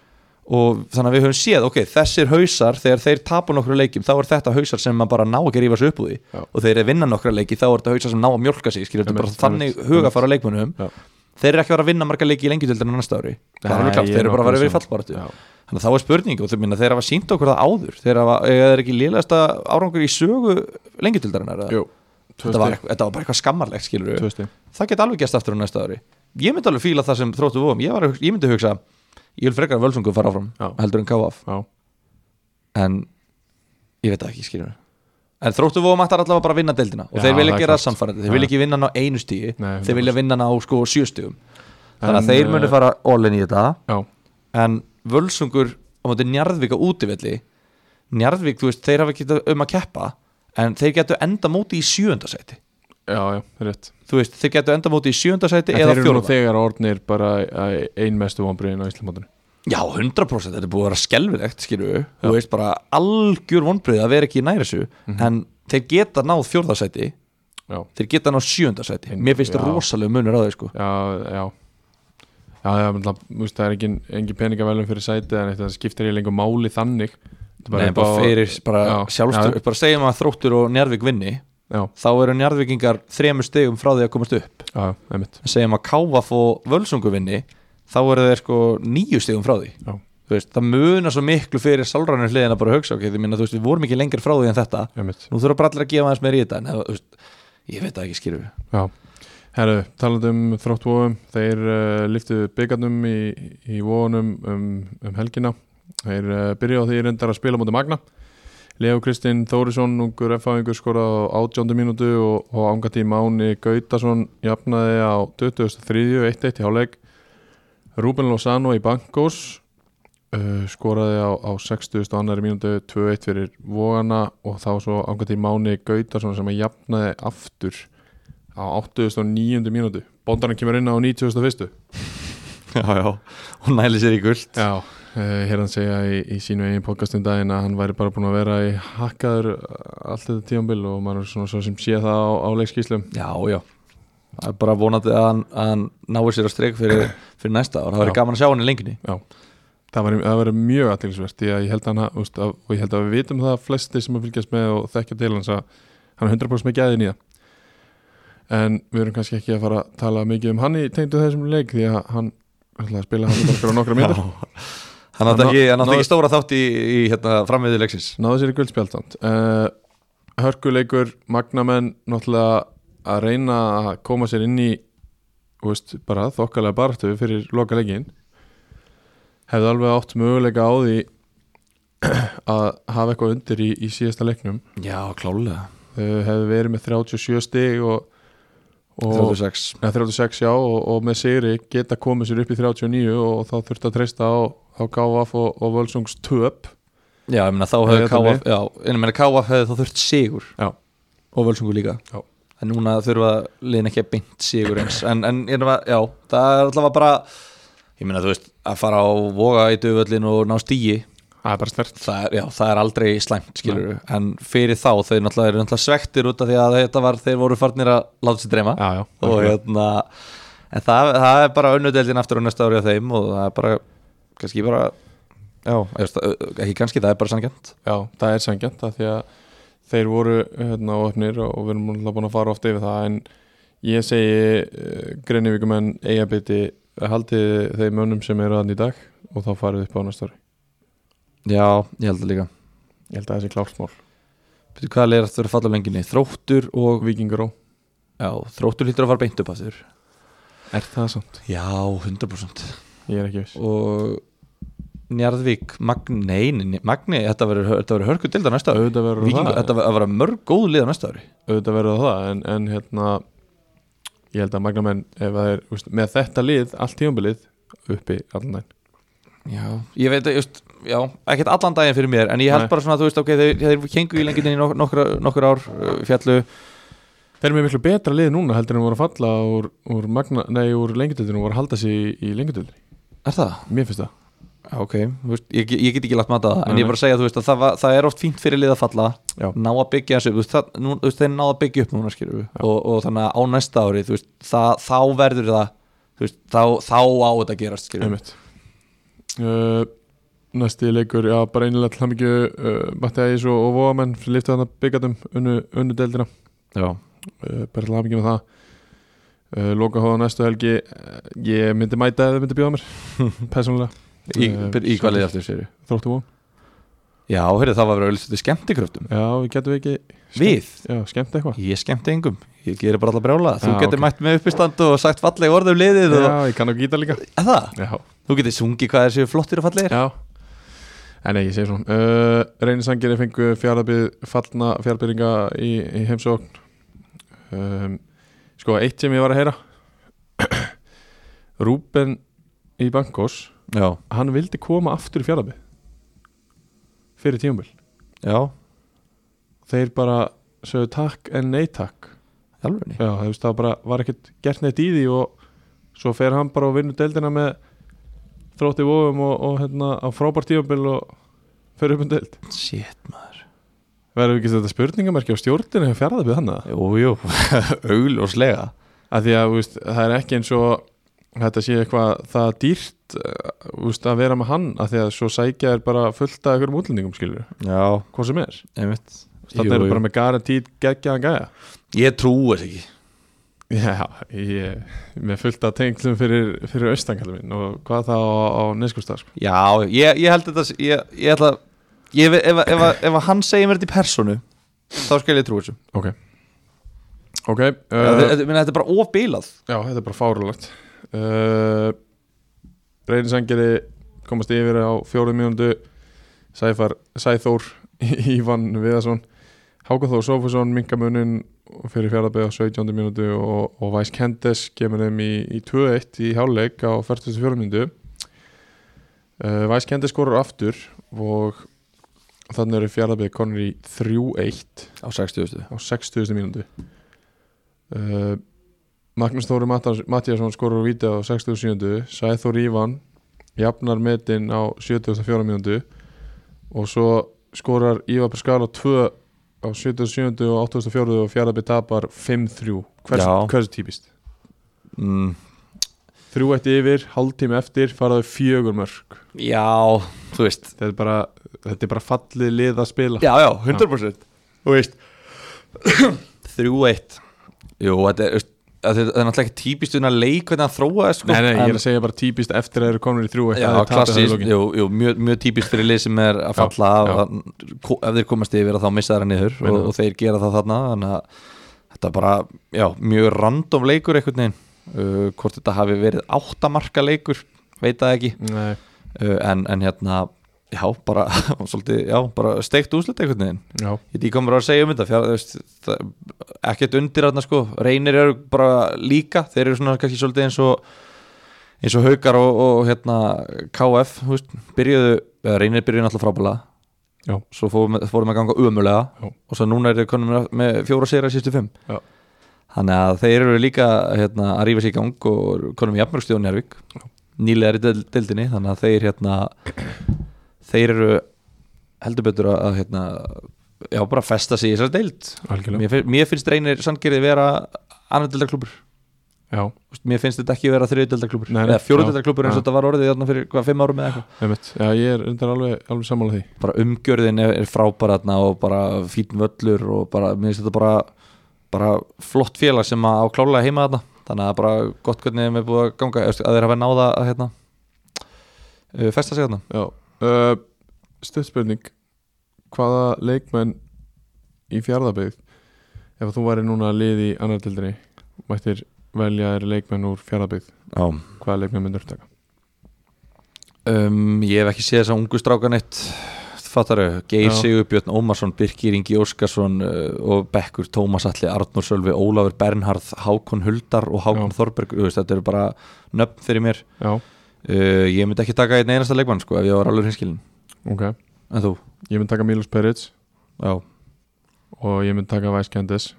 og þannig að við höfum séð, ok, þessir hausar þegar þeir tapa nokkru leikjum, þá er þetta hausar sem maður bara ná ekki að rífa sig upp úr því
Já.
og þeir vinna nokkru leiki, þá er þetta hausar sem ná að mjölka sig skilur, þetta er bara
Einmitt,
þannig
einmitt,
hugafara leikmönum
Já.
þeir eru ekki að vera að vinna marga leiki í lengjudöldinu næsta ári, það er alveg klart,
Nei, ég
þeir eru bara að vera
nákvæmlega
verið fallbaratu
um Já.
þannig að þá er spurning og þeir minna þeir hafa sínt okkur það áður þeir hafa, eða er ekki liðasta árangur í sögu lengjudildarinnar eða?
Jú, tvö
þetta, var
stig
eitthvað- þetta var bara eitthvað skammarlegt skilur
Tvö stig
það geti alveg gæst aftur á næsta ári ég myndi alveg fíla það sem þróttu vóum ég, var að hugsa- ég myndi hugsa, ég vil frekar að völsungu fara áfram
Já.
heldur en KF
Já,
en ég veit það ekki skilur en þróttu vóum ættar allavega bara að vinna deildina og
Já,
þeir vilja
það er
gera
klárt.
samfærandi, þeir
Já.
vilja ekki vinna ná einu stíi
Nei,
þeir vilja vinna ná sko sjö stíum þannig
En,
að þeir muni
eh,
fara all-in í þetta
já,
en völsungur á móti Njarðvík á útivelli Njarðvík, þú veist, þeir hafa ekki um að keppa en þeir getu enda móti í sjöundasæti
já, já, rétt
þú veist, þeir getu enda móti í sjöundasæti
En
eða
þeir eru nú
fjóruða
þegar orðnir bara eh, ein mestu vonbriðin á Íslamótinu
já, 100% þetta er búið að vera skelvilegt, skilju þú veist, bara algjör vonbrið að vera ekki í næri þessu
Mhm.
en þeir geta náð fjórðasæti
Já,
þeir geta náð sjöundasæti mér finnst
Já.
rosalega munur á þeir sko
já, já Já, já, menn, það, múst, það er engin, engin peningavælum fyrir sæti en þetta skiptir ég lengur máli þannig Þetta er
Nei,
upp
bara
á-
fyrir, bara
Já,
sjálfstur bara segjum að þróttur og Njarðvík vinni
Já,
þá eru Njarðvíkingar þremur stegum frá því að komast upp
já, já, einmitt
en segjum að KF og Völsungu vinni þá eru þeir sko nýju stigum frá því
Já.
Þú veist, það munar svo miklu fyrir sálrænur hliðina bara að hugsa ok, því minna, þú veist, við vorum ekki lengur frá því en þetta
Einmitt,
nú þurfa bara allir að gefa aðeins meir í þetta en ef- þú veist, ég veit það ekki skilur við
já Herru, talandi um þróttvóðum þeir uh, lyftu byggarnum í, í vóðunum um, um helgina þeir uh, byrja á því reyndar að spila mútið Magna Leo Kristinn Þórisson, ungur F-fæðingur skorað á 18. mínútu og, og ángati Máni Gautason jafnaði á 23. 1-1 í háleik Ruben Lozano í Bankos uh, skoraði á, á 60. annari mínútu 2-1 fyrir Vogana og þá svo ángati Máni Gautason sem að jafnaði aftur á 89. mínútu Bondarinn kemur inn á 91.
(laughs) já, já, og næli sér í guld
Já, uh, hérna segja í, í sínu eigin podcastum daginn að hann væri bara búin að vera í hakkaður eh, allt þetta tíambil og maður er svona svo sem sé það á, á leikskíslum
já, já, það er bara vonandi að hann, að hann náir sér á streik fyrir, fyrir næsta ár, það verður
Já.
gaman að sjá hann í lengjunni
Það var, það var mjög aðtilsvert því að ég held að hann, úst, að, og ég held að við vitum það flesti sem að fylgjast með og þekkja til hans að hann er 100% með gæðin í það en við erum kannski ekki að fara að tala mikið um hann í tegndu þessum leik því að hann ætlaði að spila hann bara á nokkra
Já.
mínútur
hann
Ná-
átti ekki, hann átti
ná-
ekki stóra þátt í, í hérna, framviði leiksins
náðu sér í guldspjaldand uh, hörkuleikur, magnamenn náttúrulega að reyna að koma sér inn í þú veist, bara þokkalega baratu fyrir loka leikin hefði alveg átt möguleika á því (clears throat) að hafa eitthvað undir í, í síðasta leiknum
já, klálega,
uh, hefði verið með 37 stig og, og
36
Nei, 36 já og, og með sigri geta komið sér upp í 39 og þá þurfti að treysta á, á KF og, og Völsungs töp
Já, ég meina þá
Nei,
hefði
þetta
KF Já, en ég meina KF hefði þá þurft sigur
Já.
Og völsungu líka
Já.
En núna þurfa liðin ekki að beint sigur eins En, en ég meina, já, það er allavega bara Ég meina, þú veist, að fara á voga í döföllin og ná stíi
það er bara stert
það er, Já, það er aldrei slæmt, skilur En fyrir þá, þau náttúrulega eru náttúrulega svektir út af því að þetta var, þeir voru farnir að láta sér dreyma
já, já,
Og
algjörlega.
hérna En það, það er bara önnudeldin aftur á næsta ári á þeim Og það er bara, kannski bara Já, ég veist, ekki kannski, það er bara sanngjönd
Já, það er sangjant af því að þeir voru hérna ofnir og og við erum alltaf búin að fara oft yfir það en ég segi uh, Greinivíkumenn eigabiti eh, haldið þeim mönnum sem eru aðan í dag og þá farið upp á næsta ári
Já, ég held það líka
Ég held að það sé klárt mál
Býtu, Hvað er aftur að falla á lengjunni? Þróttur og
Víkingur á
Já, þróttur lítur að fara beint upp að þér
Er það samt?
Já, 100%
Ég er ekki viss
Og Njarðvík, Magni, nei, nei, nei, Magni Þetta verður þetta verður hörku dilda næsta ári
Auðvitað verður
Víkingur,
það
Þetta verður að vera mörg góð lið á næsta ári
Auðvitað verður það en, en hérna ég held að magnamenn ef það er úst, með þetta lið, allt tíumbilið uppi allan daginn
Já, ég veit að, just, já, ekkert allan daginn fyrir mér En ég held
Nei.
bara svona, þú veist, ok, þeir, þeir kengu í lengjunni í nok nokkra, nokkra ár uh, fjallu
Þeir eru með miklu betra lið núna heldur en voru að falla úr, úr, magna, nei, úr lengjadöldinu og voru að halda sig í, í lengjadöldinu
Er það?
Mér finnst það
Ah, ok, þú veist, ég, ég get ekki lagt mata á það en
Nei,
ég er bara að segja þú veist, að það, var, það er oft fínt fyrir lið að falla
Já.
ná að byggja þessu upp, þú veist, það, nú, þú veist, þeir náða að byggja upp núna skilur og, og þannig að á næsta ári þú veist, það, þá verður það þú veist, þá, þá á þetta að gerast skilur
einmitt uh, næsti leikur, já bara einilega til hamingju uh, Mattias og, og Vóamenn fyrir liftið hann að byggja þeim unnu, unnu deildina
já,
uh, bara til hamingju með það uh, loka hóða næstu helgi uh, ég myndi mæta ef þau myndi (laughs) bjóða mér persónulega,
í,
Eh,
uh, í hvað lið aftur sér
þróttu vón
já, heyrðu, það var verið að auðvitað skemmtikröftum
já, við getum ekki
við,
já, skemmt eitthvað
ég skemmti engum ég gerir bara alltaf brjála, þú
Já,
getur
ok.
mætt með uppistand og sagt falleg orð um liðið og,
já, ég kann ekki gíta líka
Er það,
já,
þú getur sungið hvað þessi flottir og fallegir
já En nei, ég segi svona uh, Reynisangeri fengu fjárabið fallna fjárbyrringa í, í heimsókn um, Sko, eitt sem ég var að heyra (clears throat) Rúben í Bankos
já,
Hann vildi koma aftur í fjárabið Fyrir tíumbil
já,
Þeir bara sögðu takk en nei takk
alveg
Já, þú veist, það bara var ekkert gert neitt í því og svo fer hann bara og vinnur deildina með þrótti vofum og, og hérna á frábært tíumbil og fer upp um deild
shit maður
Verður ekki þetta spurningamarki á stjórninu hefur fjarað við hann að
Jú, jú, (laughs) augljóslega
Af því að þú veist, það er ekki eins og þetta sé eitthvað það dýrt eh, þú veist, að vera með hann af því að svo sækja er bara fullt af einhverjum útlendingum skilur,
Já,
hvað sem er
einmitt
Þannig eru bara með garantít geggjaðan gæja
Ég trúi þess ekki
Já, ég, með fullt af tenglum fyrir, fyrir austankallum minn og hvað það á, á neskustaf sko.
Já, ég, ég held þetta Ég, ég ætla ég, ef, ef, ef, ef hann segir mér þetta í personu þá skal ég trúi þessu
Ok Ok uh,
uh, þetta, þetta- meina, þetta er bara ofbilað
Já, þetta er bara fárulegt uh, Reynisangeri komast yfir á fjórum mínúndu Sæfar, Sæþór (laughs) Ívan Viðarsson Hákon Þór Sófusson, Minkamunin fyrir fjárðabæð á 17. mínútu og, og Væs Kendes kemur þeim í, í 2-1 í hálfleik á 44. mínútu uh, Væs Kendes skorur aftur og þannig eru fjárðabæð konur í 3-1
Á 60
á 60. mínútu uh, Magnús Þóri Mattíasson skorur á víti á 67. Sæþór Ívan jafnar metin á 74. mínútu og svo skorar Ívar Pascal á 2 á 77. og 84. og fjaraðbyrð tapar 5-3 hvers,
Já.
hversu típist?
mm.
Þrjú eitt yfir, hálftími eftir faraðu fjögur mörg
Já, þú veist
þetta er bara, þetta er bara fallið lið að spila
Já, já, 100% Þú veist 3-1 Jú, þetta er, veist, þetta er þetta er náttúrulega ekki típist unna leik hvernig hann þróaðist sko.
Nei, nei, ég
En-
er að segja bara típist eftir að þeir eru komin í þrjú eitt
Já, klassist, jú, jú, mjög, mjög típist fyrir lið sem er að falla
Já,
af,
já.
að, ko- ef þeir komast yfir að þá missa þeirra niður og,
Meina.
og þeir gera það þarna þannig að þetta er bara, já, mjög random leikur einhvern veginn uh, hvort þetta hafi verið áttamarka leikur veit það ekki,
Nei,
uh, en, en hérna já, bara, (laughs) svolítið, já, bara steikt úslit einhvern veginn
já
Ég ekki komur að segja um þetta fjár, þú veist, það, ekkert undir þarna sko, reynir eru bara líka þeir eru svona kannski svolítið eins og eins og haukar og, og hérna KF, þú veist, byrjuðu eða reynir byrjuðu náttúrulega frábælega
Já.
svo fórum, við- fórum að ganga umulega
Já.
og svo núna eru þeir konum með- með fjóra sigra í sístu fimm
Já.
þannig að þeir eru líka hérna, að rífa sér í gang og eru konum í jafnmörgstíðun Njárvík nýlega er í del- deildinni þannig að þeir hérna þeir eru heldur betur að, að hérna, já bara festa sig í þessari deild
Algjörlega,
mér, fin- mér finnst reynir sanngerði vera annar deildarklubur
já,
mér finnst þetta ekki vera þriðu deildarklubur
Nei, nei,
eða
já,
fjóru deildarklubur eins og
já.
þetta var orðið þarna fyrir hvað, fimm árum eða eitthvað
einmitt Já, ég er undan alveg, alveg sammála því
bara umgjörðin er, er frábæra þarna og bara fín völlur og bara, mér finnst þetta bara bara flott félag sem að á klálega heima þarna þannig að bara gott hvernig þeim er búið að ganga að þeir hafa náða að hérna uh, festa sig þarna
Já uh, Stöð spurning Hvaða leikmenn í fjárðabyggð Ef þú væri núna að liði í annar dildinni Mættir velja þér leikmenn úr fjárðabyggð
Já,
Hvaða leikmenn myndur taka?
Um, ég hef ekki séð þess að ungu strákan eitt fattaru, Geir
Já.
Sigurbjörn Ómarsson Birkir Ingi Óskarsson uh, og Bekkur Tómas Alli, Arnur Sölvi, Ólafur Bernharð Hákon Huldar og Hákon
Já.
Þorberg þú veist, þetta eru bara nöfn fyrir mér
Já,
uh, ég myndi ekki taka einn einasta leikmann sko, ef ég var alveg hinskilin,
ok
en þú
Ég mynd taka Milos Perits
já,
Og ég mynd taka Væs Kendis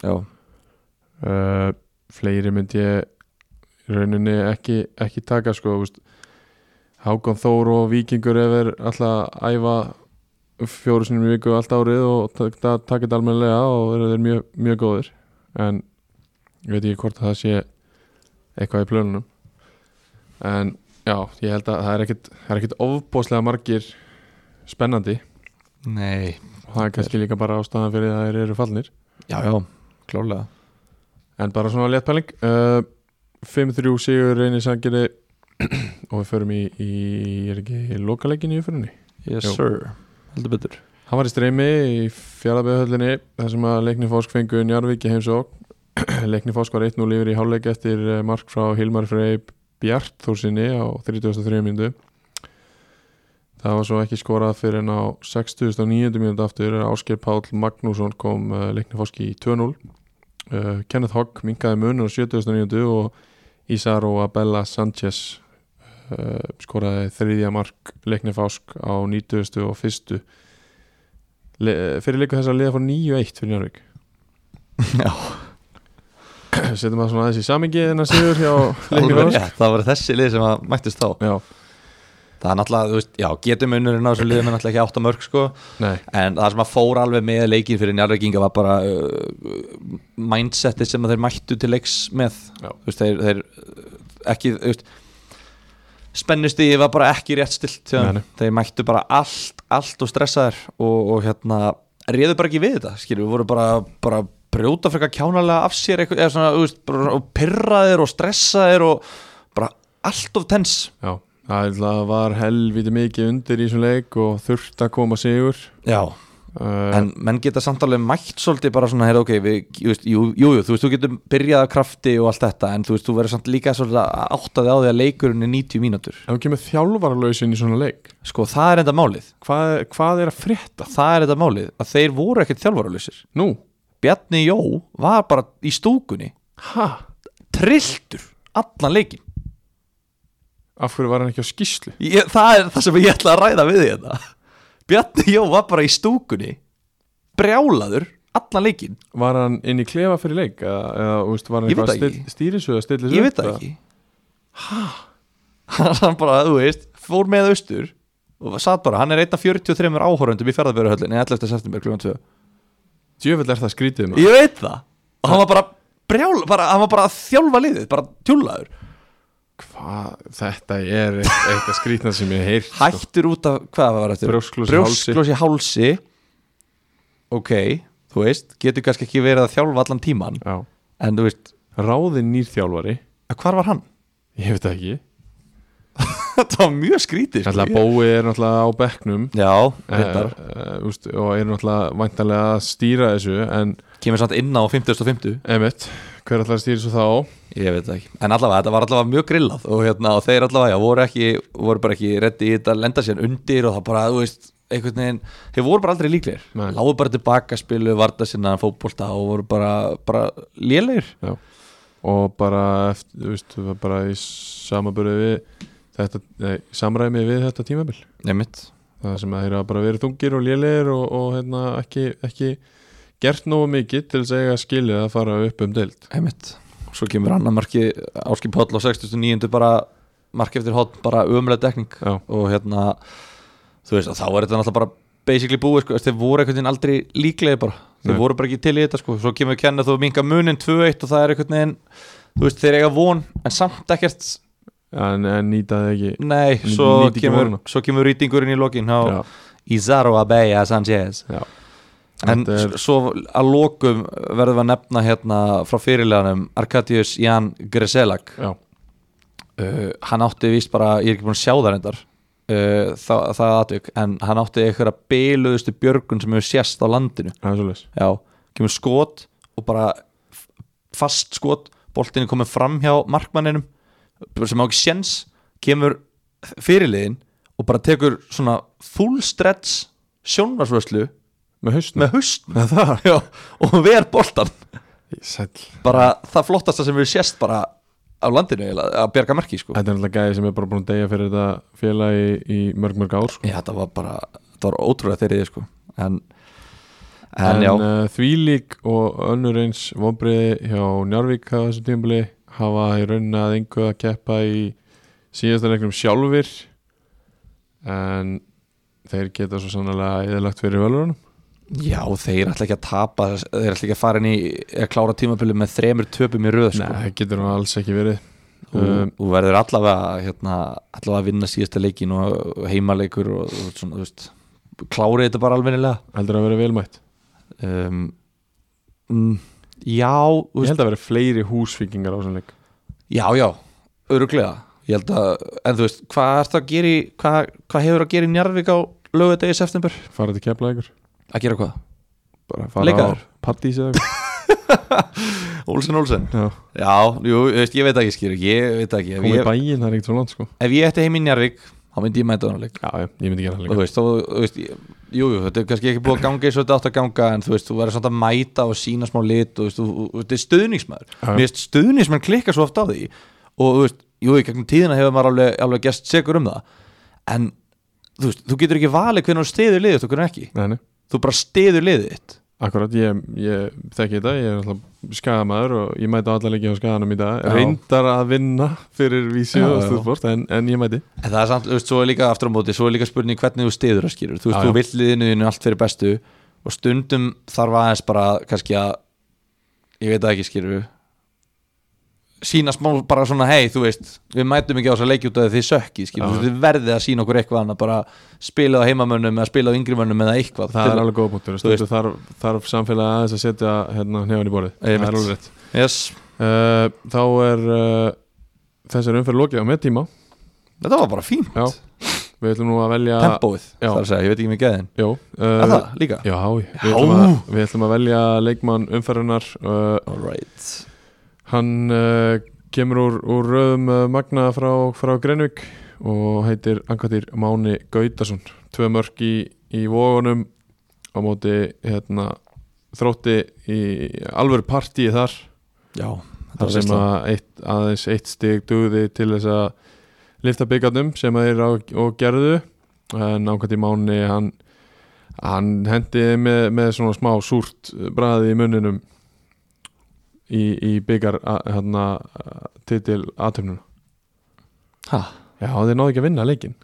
já,
uh, Fleiri mynd ég í rauninni ekki, ekki taka sko þú veist. Hákon Þór og Víkingur ef er alltaf að æfa fjóru sinni í viku allt árið og ta- ta- taka þetta almennilega og eru þeir mjög, mjög góðir en ég veit ekki hvort að það sé eitthvað í plönunum en já, ég held að það er ekkit, það er ekkit ofbóðslega margir spennandi
Nei,
og það er kannski líka bara ástæðan fyrir að þeir eru fallnir
já, já, klálega
en bara svona léttpæling uh, 5-3 sigur reynir sangeri (clears throat) og við förum í, í er ekki lokaleikin í uppfyrinni
Yes
Jú.
sir, heldur betur
Hann var í streymi í fjallabæðhöllinni þar sem að leikni fósk fengu Njarvík í (clears throat) heimsók leikni fósk var 1-0 yfir í hálfleik eftir eh, mark frá Hilmar Frey Bjartþórsinni á 33. mínútu Það var svo ekki skorað fyrir en á 69. mínútu aftur Ásker Páll Magnússon kom eh, leikni fósk í 2-0 Eh, Kenneth Hogg minkaði munur á 70. mínútu og Isaro Abella Sanchez eh, skoraði þriðja mark leikni fásk á 90. og 1. Le fyrir leiku þess að liða fór 9-1 fyrir Njárvík
Já.
setjum það svona aðeins í samingi en að sigur hjá leikni
Alveg
fásk
rétt, Það var þessi lið sem að mættist þá
já,
Það er náttúrulega, þú veist, já, getum unnurinn á þessu liðum er náttúrulega ekki átta mörg sko
nei,
En það sem að fór alveg með leikinn fyrir njárveikinga var bara uh, mindseti sem að þeir mættu til leiks með
Já.
Þú veist, þeir, þeir uh, ekki, þú veist spennusti var bara ekki rétt stilt hjá þeim.
Nei, nei.
þeir mættu bara allt, allt og stressaðir og, og hérna réðu bara ekki við þetta, skilju, við voru bara, bara brjóta frekar kjánalega af sér eitthvað, eða svona, þú veist, bara, og pyrraðir og stressaðir og bara allt of tens
já það er náttúrulega var helviti mikið undir í þessum leik og þurft að koma sigur
Já,
uh,
en menn geta samt alveg mætt svolítið bara svona, heyrðu ok, við, jú, veist, jú, jú, jú, þú veist, þú getur byrjað af krafti og allt þetta, en þú veist, þú verður samt líka svolítið að átta þig á því að leikurinn er 90 mínútur,
ef við kemur þjálfarlausin í svona leik
sko, það er enda málið
hvað, hvað er að frétta?
það er þetta málið, að þeir voru ekkert þjálfaralysir
Nú,
Bjarni Jó var bara í stúkunni
ha?
trilltur allan leikin
af hverju var hann ekki á skýslu?
ég, það er það sem ég ætla að ræða við því þetta Bjarni Jó var bara í stúkunni brjálaður allan leikin
Var hann inn í klefa fyrir leik? Eða, eða þú veist, var hann
Ég veit
eitthvað
það
að
ekki.
stil- stýri svo eða stilla svo
ég veit það ekki hæ (laughs) hann bara, þú veist, fór með austur og satt bara, hann er einn af 43 áhórundum í ferðarbyrjuhöllinni 11. september kl. 2
Djöfell er það skrítið maður
ég veit það og hann var bara brjál, bara, hann var bara að þjálfa liðið bara tjúlaður,
Hvað, þetta er eitt- eitt að skrítna sem ég sko. heirt
hættur út af hvað var þetta?
Brjósklos í hálsi.
brjósklos í hálsi ok, þú veist, getur kannski ekki verið að þjálfa allan tíman
Já.
en þú veist,
Ráðin nýr þjálfari
hvar var hann? (laughs)
Ég veit það ekki
þetta var mjög skrítið sko.
Náttúrulega Bói er náttúrulega á bekknum
já,
uh,
reyndar,
uh, úst, og er náttúrulega væntanlega að stýra þessu en
kemur samt inn á 50.50
emitt, hver ætlar að stýra þessu þá
Ég veit það ekki, en allavega þetta var allavega mjög grillað og, hérna, og þeir allavega, já, voru ekki voru bara ekki reddi í þetta, lenda sér undir og það bara, þú veist, einhvern veginn þeir voru bara aldrei líklegir,
Nei.
lágu bara tilbaka spilu, varta sinna fótbolta og voru bara, bara lélegir
Já. og bara, eftir, þú veist, það var bara í samaburði við þetta, nei, samræmi við þetta tímabil
Nefnt,
það sem að þeir hafa bara verið þungir og lélegir og, og hérna, ekki, ekki gert nógu mikið til þess að eiga skilið að fara upp um deild
nefnt Svo kemur annar marki Áskip Hóll á 69. bara marki eftir Hóll bara umlega dekning
Já.
og hérna, þú veist, þá er þetta náttúrulega bara basically búið, sko, þeir voru einhvern veginn aldrei líklegir bara, þeir
Nei.
voru bara ekki til í þetta, sko, svo kemur kennið þú minga munin 2-1 og það er einhvern veginn, þú veist, þeir eiga von en samt ekkert,
en, en nýtaði ekki
nei,
Nýti
svo
ekki
kemur,
vonina.
svo kemur rýtingurinn í lokin á
Já.
Izaro Abeya Sanchez
Já.
en
Þetta er-
s- svo að lokum verðum við að nefna hérna frá fyrirleganum Arkadius Jan Greselak
Já,
uh, hann átti víst bara, ég er ekki búin að sjá það reyndar uh, það, það aðtök en hann átti einhverja biluðustu björgun sem hefur sést á landinu
það er svolítið
já, kemur skot og bara f- fast skot boltinu komið fram hjá markmanninum sem á ekki séns kemur fyrirliðin og bara tekur svona full stretch sjónvarsvöslu
Með hausnum?
með haust (laughs) já, og ver boltan
Sæll
bara það flottasta sem hefur sést bara á landinu eiginlega, að berga merki sko.
Þetta er alltaf gæði sem er bara búin að deyja fyrir þetta félagi í, í mörg mörg ár sko.
Já, þetta var bara, þetta var ótrúlega þeirrið sko. en, en,
En,
já,
uh, þvílík og önnur eins vonbriði hjá Njárvík á þessu tímabili hafa í raunin að engu að keppa í síðasta leiknum sjálfur en þeir geta svo sannlega eðalagt fyrir völvunum
Já, þeir ætla ekki að tapa þeir ætla ekki að fara inn í að klára tímabili með þremur töpum í röð
Nei,
sko.
það getur nú alls ekki verið
þú,
Um,
þú verður allavega hérna, allavega að vinna síðasta leikin og heimaleikur og, og svona, þú veist klárið þetta bara alveg
heldur að vera velmætt
um, mm, Já, þú
Ég
veist
held að vera fleiri húsfíkingar á þessum leik
Já, já, öruglega Ég held að, en þú veist, hvað ertu að gera í- hvað, hvað hefur að gera í Njarðvík á lögadegi september?
fara til kepla ykkur
Að gera hvað?
bara fara
Leikaður?
á pattís eða eitthvað.
Olsen, Olsen
Já.
Já, jú, þú veist, ég veit ekki skýr Ég veit ekki, ef
koma í
ég,
bæinn, það er ekkert svo langt sko
ef ég ætti heim í Njarðvík þá myndi ég mæta þannig
já, já, ég myndi gera það
og þú
líka
veist, þú, þú veist ég- jú, jú, þetta er kannski ekki búið að ganga eins og þetta átt að ganga en þú veist, þú verður samt að mæta og sína smá lit og þú veist, þú, þú- þú- þetta er stuðningsmaður
Já.
mér veist, stuðningsmenn klikka svo oft á því og þú veist, jú, í gegnum tíðina hefur maður alveg, alveg gest segur um það en þú veist, þú getur ekki valið hvernig þú stiður liðið og hvernig ekki,
nei, nei,
þú bara stiður liðið þitt
akkurat, ég, ég þekki þetta ég er alltaf skadamaður og ég mæti á alla leiki á skadanum í dag,
Já.
reyndar að vinna fyrir vísi
Já,
og
já.
stúðbort en, en ég mæti,
en það er samt, þú veist, svo er líka aftur á móti svo er líka spurning hvernig þú stiður að skýrur þú
Já,
veist, þú
já.
vill liðinu þínu allt fyrir bestu og stundum þarf aðeins bara kannski að, ég veit það ekki skýrur sína smá bara svona, hei, þú veist við mætum ekki á þess að leikja út af því þið sökki
Já,
skýrur, þið verðið að sína okkur eitthvað annað bara spilað á heimamönnum eða spilað á yngri mönnum eða eitthvað
það er alveg góð punktur
Þú veist-
Stundu þarf, þarf samfélagi aðeins að setja hérna hnefann í borðið, það
Einmitt.
er alveg rétt
yes.
uh, þá er uh, þessar umferð lokið á meðtíma
þetta var bara fínt,
Já. við ætlum nú að velja
tempóið
Já.
þar að segja, ég veit ekki með geðin
já, uh,
að það líka,
Já, við
Já.
ætlum, að, við ætlum að velja leikmann umferðunar uh,
alright
Hann uh, kemur úr, úr röðum uh, Magna frá, frá Grenvík og heitir Angatir Máni Gautason Tvö mörk í, í vógunum á móti hérna, þrótti í alvöru partíi þar
já,
þar sem
veistla.
að eitt, aðeins eitt stig dugði til þess að lifta byggarnum sem að þeir á, og gerðu en ákvæmt í mánu hann, hann hendi þeim með, með svona smá súrt bræði í munninum í, í byggar hérna, titil aðtöfnuna
Ha?
Já, þeir náðu ekki að vinna leikinn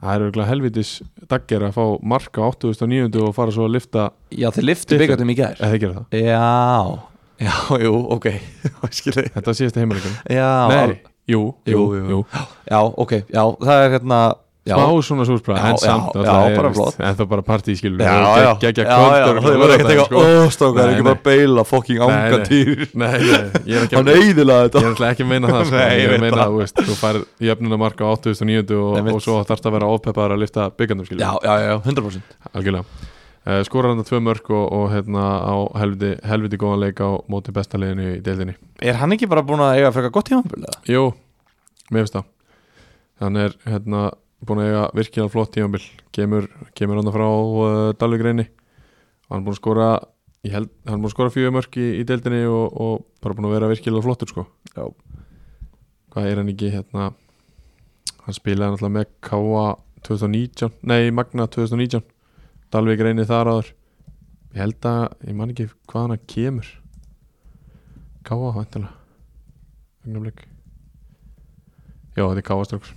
Það er auðvitað helvitis dagger að fá marka á 8009 og fara svo að lifta
já, þið liftu
Different.
byggandum í gær
eða þeir gera það
Já, já, jú, ok (laughs) Skilji
Þetta síðast heimileikunum
já,
Nei, jú, jú,
Jú, jú.
jú.
já, ok, já, það er hérna já,
smá svona súrspræð
Já,
en samt
já,
náttúrulega
já,
er,
bara
veist,
flott.
en það er bara partí skilur
já, já,
geggja
já, já,
kvöldur
Þau voru ekki að hérna, teka,
sko.
ó, strákar,
Nei,
ekki
nei.
bara beila fokking
Nei, nei.
ánga (laughs) týr
nei, nei, ég er ekki
Hann
að
eiðilaði
Ég
þetta
er alltaf ekki að meina
(laughs)
það sko.
Nei, ég
Ég er
veit
að meina
það.
það, þú veist Þú fær jöfnuna marka á 8009
Nei,
og,
mitt.
og svo þarfst að vera ofpeppaður að lifta byggandum skilur
Já, já, já, 100%
Algjörlega uh, Skorar hann að tvö mörk og, og hérna á helviti, helviti góðan leik á móti bestaliðinu í deildinni
Er hann ekki bara búin að eiga frekar gott tímambil eða?
Jú, mér finnst það Hann er hérna búin að eiga virkilega flott tímabil kemur, kemur hann frá uh, Dalvíkreinni hann er búin að skora ég held, hann er búin að skora fjögur mörk í, í deildinni og, og bara búin að vera virkilega flottur sko.
Já.
hvað er hann ekki hérna hann spilaði náttúrulega með K.A. 2019, nei Magna 2019 Dalvíkreinni þar áður ég held að, ég man ekki hvað hann kemur K.A. væntanlega Ögnablik Já, þetta er káastróks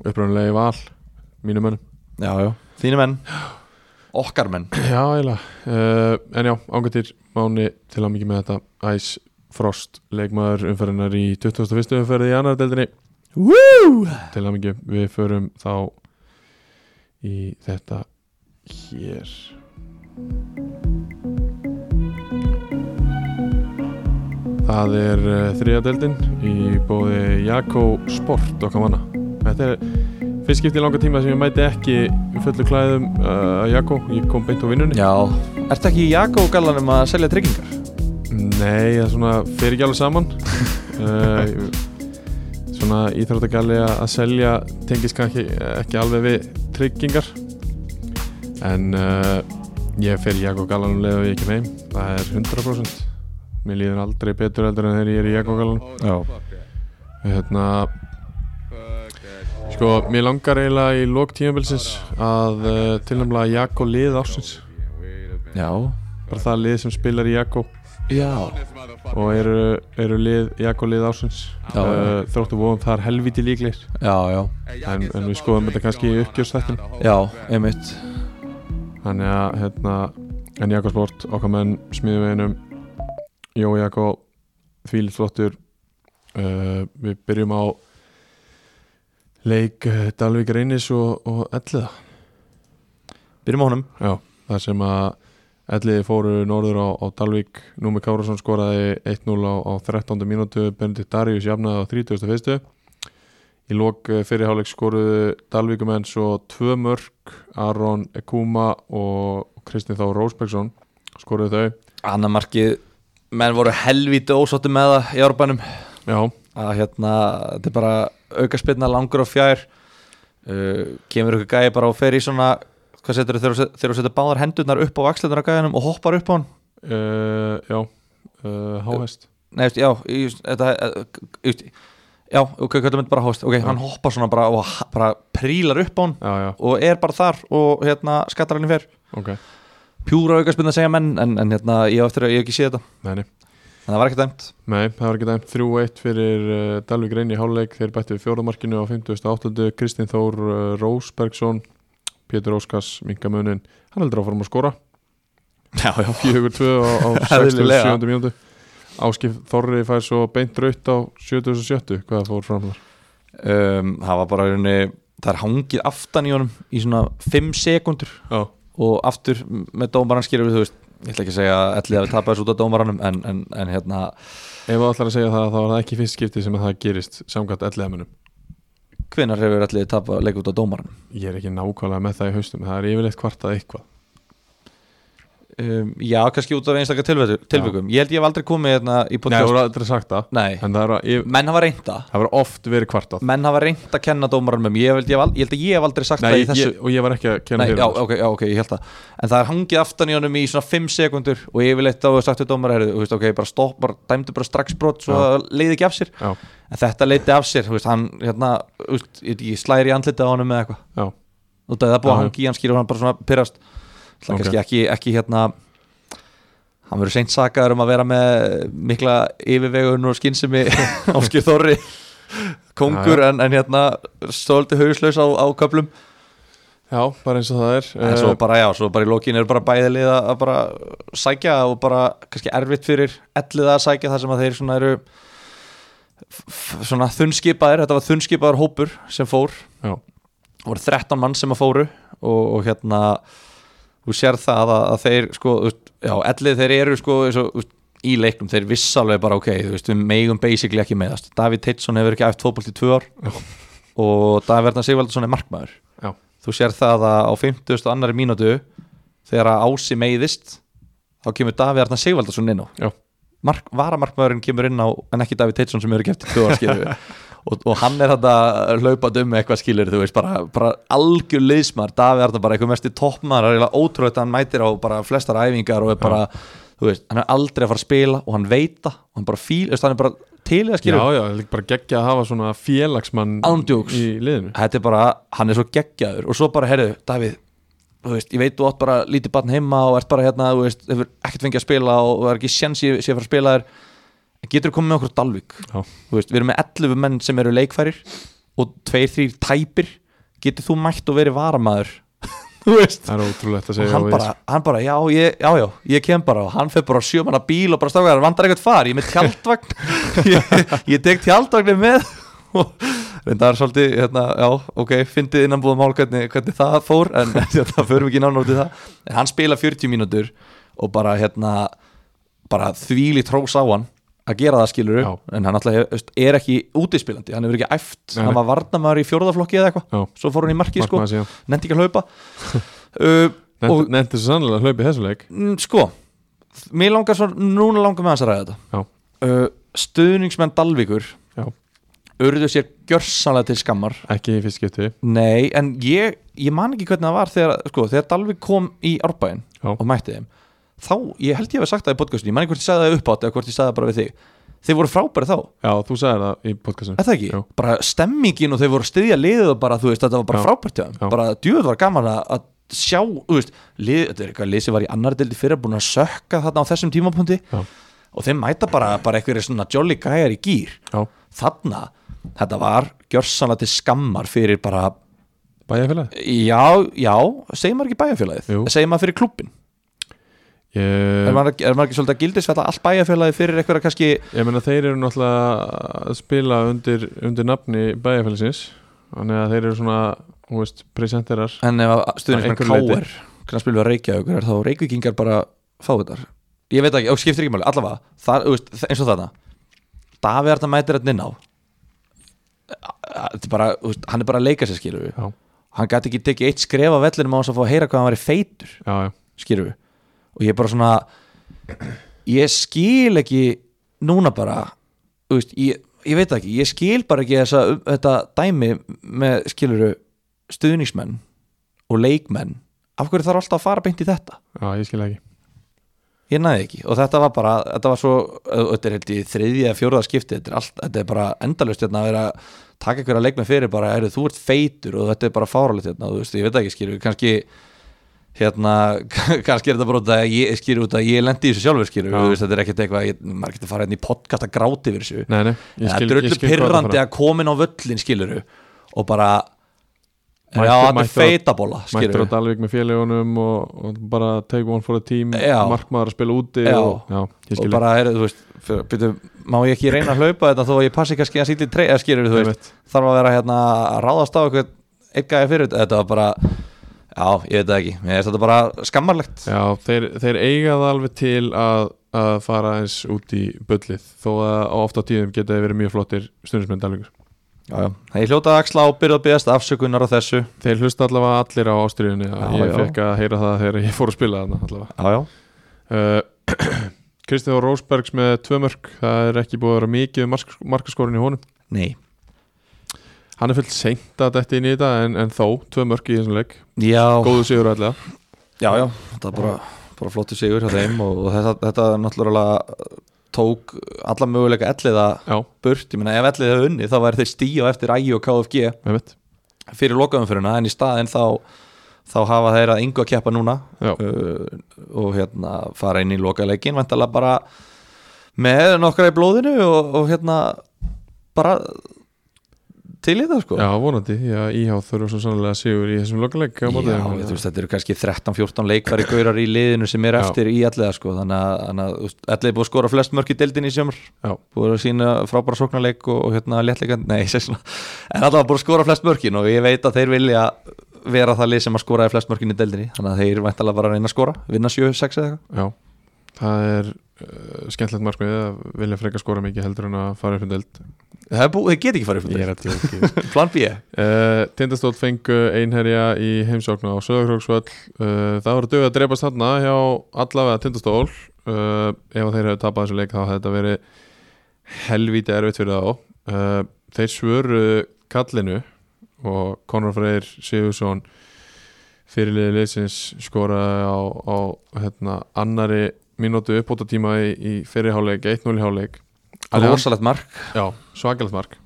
Uppröðanlega í val Mínu mönnum
Já, já, þínu menn Okkar menn
Já, eiginlega uh, En já, ángatýr Máni til að mikið með þetta Æs Frost Leikmaður umferðinar í 21. umferði í annar deildinni
Woo!
Til að mikið við förum þá Í þetta Hér Það er uh, þriða deildin í bóði Jakko Sport okkar manna. Þetta er fyrst skipti í langa tíma sem ég mæti ekki í fullu klæðum uh, Jakko, ég kom beint á vinnunni.
Já, ertu ekki í Jakko gallanum að selja tryggingar?
Nei, það er svona fer ekki alveg saman uh, ég- Svona íþróttagalli að að selja tengist kannski ekki alveg við tryggingar En uh, ég fer Jakob Gallanum leið og ég kem heim Það er 100% Mér líður aldrei betur heldur en þegar ég er í Jakob Gallanum
Já
Hérna Sko, mér langar eiginlega í lok tímabilsins að uh, tilnæmla Jakko lið ársins
Já,
Bara það lið sem spilar í Jakko
já
og eru, eru lið, Jakko lið ásins
Já,
uh, þróttu vóðum þar helviti líklir
já, já,
en, en við skoðum þetta kannski í uppgjörstættin
já, einmitt
þannig að hérna, en Jakko Sport okkar menn smiðuveginum Jó Jakko þvílið flottur uh, við byrjum á leik eh, Dalvík Reynis og, og Elliða
byrjum á honum
Já, það sem að Elliði fóru norður á, á Dalvík Númi Kárasson skoraði 1-0 á, á 13. mínútu, Benedikt Darius jafnaði á 31. Í lok fyrirháleik skoruðu Dalvíkumenn svo tvö mörk Aron Ekuma og Kristinn Þá Rósbergsson skoruðu þau
annar markið, menn voru helvítið ósáttu með það í árbænum
Já,
að hérna, þetta er bara aukaspilna langur og fjær uh, kemur ykkur gæi bara og fer í svona hvað setur þau þegar þú setur báðar hendurnar upp á axlunar á gæjanum og hoppar upp á hann
uh, já uh, Háhest
Nei, veist, já, í- þetta eh, just, já, ok, kallum þetta bara hóst ok, hann hoppar svona bara og ha- bara prílar upp á hann
Já, já,
og er bara þar og hérna skattar hann í fer
ok,
pjúra aukaspilna segja menn, en, en hérna ég á eftir að ég hef ekki sé þetta,
neini
en það var ekki dæmt
Nei, það var ekki dæmt 3-1 fyrir uh, Dalvik Reyni í háluleik, þeir bættu við fjóramarkinu á 58. Kristinn Þór uh, Rósbergsson, Pétur Óskars minkamunin, hann heldur áfram að skora
já, já,
4-2 á, á
Eðlilega.
67. mínútu Áskif Þorri fær svo beint raut á 77. hvað fór fram þar
um, það var bara í rauninni, það er hangið aftan í honum í svona 5 sekundur
Já,
og aftur m- með dómarann skýrur við, þú veist, ég ætla ekki að segja ætli að við tapa þessu út af dómaranum en, en, en hérna,
ef þú ætlar að segja það þá var það ekki fyrst skipti sem að það gerist samkvæmt 11 munum
hvenar hefur ætli að tapa leik út af dómaranum
Ég er ekki nákvæmlega með það í haustum, það er yfirleitt kvartað eitthvað
um, já, kannski út af einstaka tilvegu- tilvikum ég held ég hef aldrei komið hérna í
Nei, þú
podcast
er aldrei sagt það,
Nei,
en það er, yf-
menn hafa reynda
það er oft verið kvartað
menn hafa reynda að kenna dómaranum um ég, held ég, hef al- ég held að ég hef aldrei sagt það
Nei,
í þessu
ég, og ég var ekki að kenna
Nei,
fyrir
já,
það, sko.
ok, já, ok, ég held það En það er hangið aftan í honum í svona 5 sekundur og yfirleitt á sagt við dómar heyrðu, þú veist, ok, bara stopp, bara dæmdu bara strax brot svo
Já.
það leiði ekki af sér
Já,
En þetta leiði af sér, þú veist, hann hérna, þú veist, ég veit ekki, slæri í andlitið á honum eða eitthvað
já,
Þú veist, það er búið
Já,
að
já.
hangi í hann skýr og hann bara svona pyrrast Það
Ok.
okay. kannski ekki, ekki hérna Hann verður seint sakaður um að vera með mikla yfirvegun og skynsemi (laughs) áskýr þorri kongur En, en hérna stóldi hauslaus á, á köplum
já, bara eins og það er Eh,
En svo bara, já, svo bara í lokin eru bara bæði lið að að bara sækja og bara kannski erfitt fyrir elliða að sækja þar sem að þeir svona eru f- f- svona þunnskipaðir, þetta var þunnskipaðar hópur sem fór,
Já,
það voru 13 mann sem að fóru og, og hérna þú sér það að, að þeir sko, þú veist, já, ellið þeir eru sko svo, í leiknum, þeir viss alveg bara ok þú veist, við megum basically ekki meðast Davíð Teitsson hefur ekki æft fótbolt í tvö ár og Davíð Verna Sigvaldarsson er markmaður
já,
þú sér það að á 50. annari mínútu þegar að Ási meiðist þá kemur Davíð Arnar Sigvaldarsson inn á
já,
Mark, varamarkmaðurinn kemur inn á en ekki Davíð Teitsson sem eru kæft í tjóðarskilu
(laughs)
og, og hann er þetta hlaupað um eitthvað skilur þú veist, bara, bara algjör liðsmar Davíð Arnar bara eitthvað mest í toppmaður það er ótrúlega að hann mætir á bara flestar æfingar og er bara, þú veist, hann er aldrei að fara að spila og hann veita og hann bara fíl, þú veist, hann er bara til í að
já,
skilur
já, það er bara geggja að hafa svona félagsmann
Án djóks.
í liðinu
þetta er bara, hann er svo geggjaður og svo bara, heyrðu, Davíð þú veist, ég veit þú átt bara lítið barn heima og ert bara hérna, þú veist, hefur ekkert fengið að spila og það er ekki séns ég sé að fara að spila þér En getur þú komið með okkur á Dalvík
Já.
þú veist, við erum með 11 menn sem eru leikfærir og tveir, þrýr tæpir getur þú mætt og verið varamaður (laughs) þú veist
Það er ótrúlegt að
og
segja
hann
og ég-
bara, hann bara, já, ég, já, já, ég kem bara og hann fer bara á sjömanna bíl og bara strákar, hann vandar eitthvað far, ég er með tjaldvagn (laughs) ég, ég tek tjaldvagnir með (laughs) og reyndar svolítið, hérna, já, ok, fyndið innan búið mál hvernig, hvernig það fór, en (laughs) það förum ekki nánar út í það, en hann spila 40 mínútur og bara, hérna bara þvíli trós á hann að gera það skilur
Já.
en hann alltaf þú veist, er ekki útispilandi, hann hefur ekki æft
Nei,
hann
nei.
var varnamaður í fjórðaflokki
Já.
eða eitthvað svo fór hann í markið sko,
Markmaður síðan.
nefndi ekki að hlaupa
(laughs)
uh, og
Nefnt- Nefndi svo sannlega að hlaupi þessu leik
Mm, sko mér langar svo, núna langar með hans að ræða þetta
Já,
uh, stuðningsmenn Dalvíkur
já,
urðu sér gjörsanlega til skammar
ekki í fyrst skipti
nei, en ég, ég man ekki hvernig það var þegar, sko, þegar Dalvík kom í árbæin
Já.
og mætti þeim þá, ég held ég hef sagt það í podcastinu, ég man ekki hvort ég sagði það uppátt eða hvort ég sagði það bara við þig þeir voru frábæri þá,
Já, þú sagði það í podcastinu
er það ekki?
Jú.
bara stemmingin og þeir voru að styðja liðið og bara, þú veist, þetta var bara
Já.
frábært hjá þeim
Já.
bara djúið var gaman að- að sjá, þú veist, lið, þetta er eitthvað lið sem var í annar deldi fyrir búin að sökka þarna á þessum tímapunkti
Já,
og þeim mæta bara, bara einhverjir svona jolly gæjar í gýr
Já,
þarna, þetta var gjörsanlega til skammar fyrir bara
bæjarfélag
já, já, segir maður ekki bæjarfélagið
Jú.
segir maður fyrir klubbin er,
ég,
maður ekki- er maður ekki svolítið að gildisfella allt bæjarfélagið fyrir einhverja kannski
ég meina þeir eru náttúrulega að spila undir, undir nafni bæjarfélagsins Þannig að þeir eru svona, hú veist, presenterar
en ef stuðnismenn
Að einhverju
K.R. knarspilur að reykja ykkur þá reykvíkingar bara fá þetta ég veit ekki, og skiptir ekki máli, allavega þar, þú veist, eins og þarna Davi Arna mætir þetta inn á þetta er bara, þú veist, hann er bara að leika sér skilur við
Já,
hann gæti ekki tekið eitt skref af vellinum á þess að fá að heyra hvað hann væri feitur
já, já,
skilur við og ég er bara svona ég skil ekki núna bara þú veist, ég, ég veit það ekki, ég skil bara ekki þessa, þetta dæmi með skilur við stuðningsmenn og leikmenn af hverju þarf alltaf að fara beint í þetta
já, ég skil það ekki
ég næði ekki og þetta var bara þetta var svo, þetta er held í þriðja eða fjórða skipti, þetta er, allt, þetta er bara endalaust hérna að vera að taka einhverja leikmenn fyrir bara, heyrðu, þú ert feitur og þetta er bara fáralegt hérna, þú veist, ég veit það ekki skilur, við, kannski hérna, (laughs) kannski er þetta bara út að ég skilur út að ég lendi í þessu sjálfur skilur,
Já.
við, þú veist, þetta er ekkert eitthvað, ég, maður getur farið hérna í podcast að gráti yfir þessu
Nei, nei, ég
þetta
skil,
er
ég
öllu
skil hvað um. það
pirrandi
fara
að komin á völlin skilur og bara
Mættur-
já, þetta er
mættur á-
feitabóla
Mættur
skilur
á Dalvik með félagunum og, og bara take one for the team
Já.
Markmaður að spila úti
Já.
og, já ég
og
skil
bara er, þú veist fyrir, byrju, má ég ekki reyna að hlaupa þetta þó að ég passi kannski að sýtli treyja skilur þú veist,
Einmitt.
þarf að vera hérna að ráðast á eitthvað eitt gæja fyrir þetta, þetta var bara já, ég veit það ekki, mér finnst þetta bara skammarlegt já,
Já, þeir, þeir eiga það alveg til að, að fara eins út í bullið þó að á ofta tíðum geta þeir verið mjög flottir stundismenn dalvíkur.
já, ég hljóta að axla ábyrð og byggast afsökunar á þessu,
Þeir hlusta allavega allir á ástriðunni
Já,
ég
já.
fekk að heyra það þegar ég fór að spila þarna allavega.
já, já
Uh, (clears throat) Kristið og Rósbergs með tvö mörk, það er ekki búið að vera mikið um mark, markaskorin í honum.
nei,
Hann er fullt seint að þetta inn í þetta en, en þó, tvö mörk í þessum leik,
já,
góðu sigur allega.
já, já þetta er bara, bara flottu sigur hjá þeim og, og þetta, þetta náttúrulega tók alla möguleika elliða
Já,
burt, ég meina ef elliða hefði unni þá væri þeir stíu eftir ægi og KFG
með mitt.
fyrir lokaumfyrirna en í staðin þá þá hafa þeir að yngu að keppa núna
Já.
uh, og hérna fara inn í lokaleikin vantarlega bara með nokkra í blóðinu og, og hérna bara til í það sko
Já, vonandi, já, íhá þurfa svo sannlega sigur í þessum lokaleg á móti
Já,
þeim.
ég, þú veist, þetta eru kannski 13-14 leikfæri gaurar í liðinu sem er
Já.
eftir í allega sko, þannig að, þannig að þú veist, allega er búið að skora flest mörk í deildin í sjömur
Já.
búið að sína frábæra sóknarleik og, og hérna léttleika, nei, (laughs) ég segi svona en allavega búið að skora flest mörkin og ég veit að þeir vilja vera það lið sem að skoraði flest mörkin í deildinni, þannig að þeir væntalega bara að reyna að skora vinna 7-6 eða eitthvað
Já, það er uh, skemmtilegt markmið að vilja freka skora mikið heldur en að fara upp um deild
Það er búið, þeir get ekki farið
Ég
upp
er
fyrir
að tjóki
Plan B,
uh, Tindastóll fengu einherja í heimsóknu á Söðakróksvöll uh, Það var að duga að drepast þarna hjá allavega Tindastól uh, Ef að þeir hefðu tapað þessu leik þá hefði þetta verið helvíti erfitt fyrir þá uh, Þeir svöru kallinu og Conor Freyr Sigursson fyrirliði leysins skoraði á, á hérna, annari mínútu uppbóta tíma í, í fyrirháleik 1-0 háleik
rosalegt mark
Já, svakalegt mark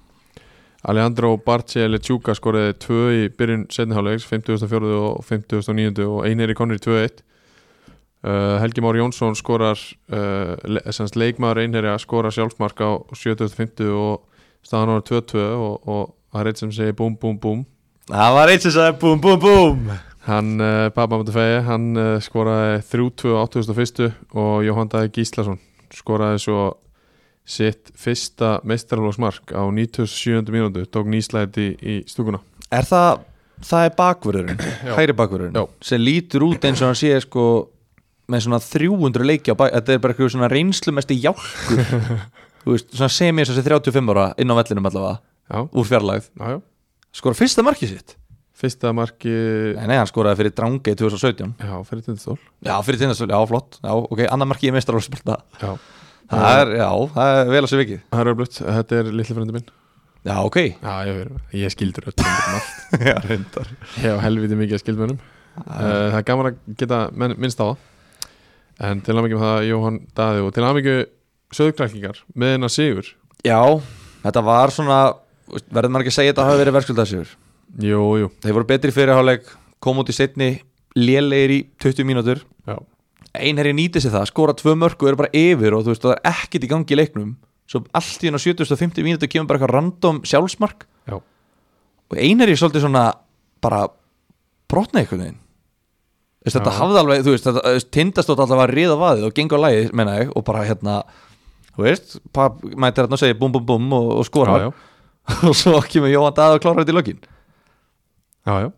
Alejandro Barcelli Tjúka skoraði 2 í byrjun setnihálegs 54. og 59. og Einari Connery 2-1 uh, Helgi Már Jónsson skorar uh, le semst leikmaður Einherja skorar sjálfsmark á 75. og staðan ára 2-2 og, og það er eitt sem segir búm búm búm
Það var eins og sagði búm, búm, búm
Hann, uh, Pabba Matafegi, hann uh, skoraði 3-2 á 81. og Jóhann Dagi Gíslason skoraði svo sitt fyrsta meistarlóksmark á 97. mínútu, tók nýslæti í, í stúkuna.
Er það, það er (clears throat) bakvörðurinn, hæri
Já.
bakvörðurinn sem lítur út eins og hann sé sko með svona 300 leikja bak, þetta er bara eitthvað svona reynslumesti (laughs) jálkur þú veist, svona sem ég þessi 35 ára inn á vellinum allavega,
Já,
úr fjarlægð
já, já.
skora fyrsta markið sitt
Fyrsta marki,
Nei, nei, hann skoraði fyrir Drangey 2017
já, fyrir tindastól.
Já, fyrir tindastölu, já, flott Já, ok, annar markið í meistarálspilta
Já,
Það er, já, það er vel að sér vikið
það er öflutt, þetta er litli frendi minn.
Já, ok
Já, ég, verið- ég skildur öll um allt.
(laughs) Já, reyndar
(laughs) Ég hef helviti mikið að skildmennum uh, Það er gaman að geta menn, minnst á það En til aðmyggjum það Jóhann Daði og til aðmyggju söðkrakkingar með hennar sigur
Já, þetta var svona þú veist, verður maður ekki að segja þetta hafi verið verðskuldaðsigur
Jú, jú
þeir voru betri fyrirháleik kom út í setni lélegir í 20 mínútur
Já,
einherji nýti sér það, skora tvö mörk og eru bara yfir og þú veist, það er ekkit í gangi í leiknum svo allt í enn á 70-50 mínútu kemur bara eitthvað random sjálfsmark
Já.
og einherji er svolítið svona bara brotna einhvern veginn Þú veist, þetta
Já.
hafði alveg, þú veist, þetta þú veist, tindastótt alltaf að riða vaðið og gengur lagi, menna ég, og bara hérna, þú veist, pab, mætir hérna og segir bum bum bum og, og skora
já, já,
(laughs) og svo kemur Jóhann Dað og klárar þetta í lokin
já, já.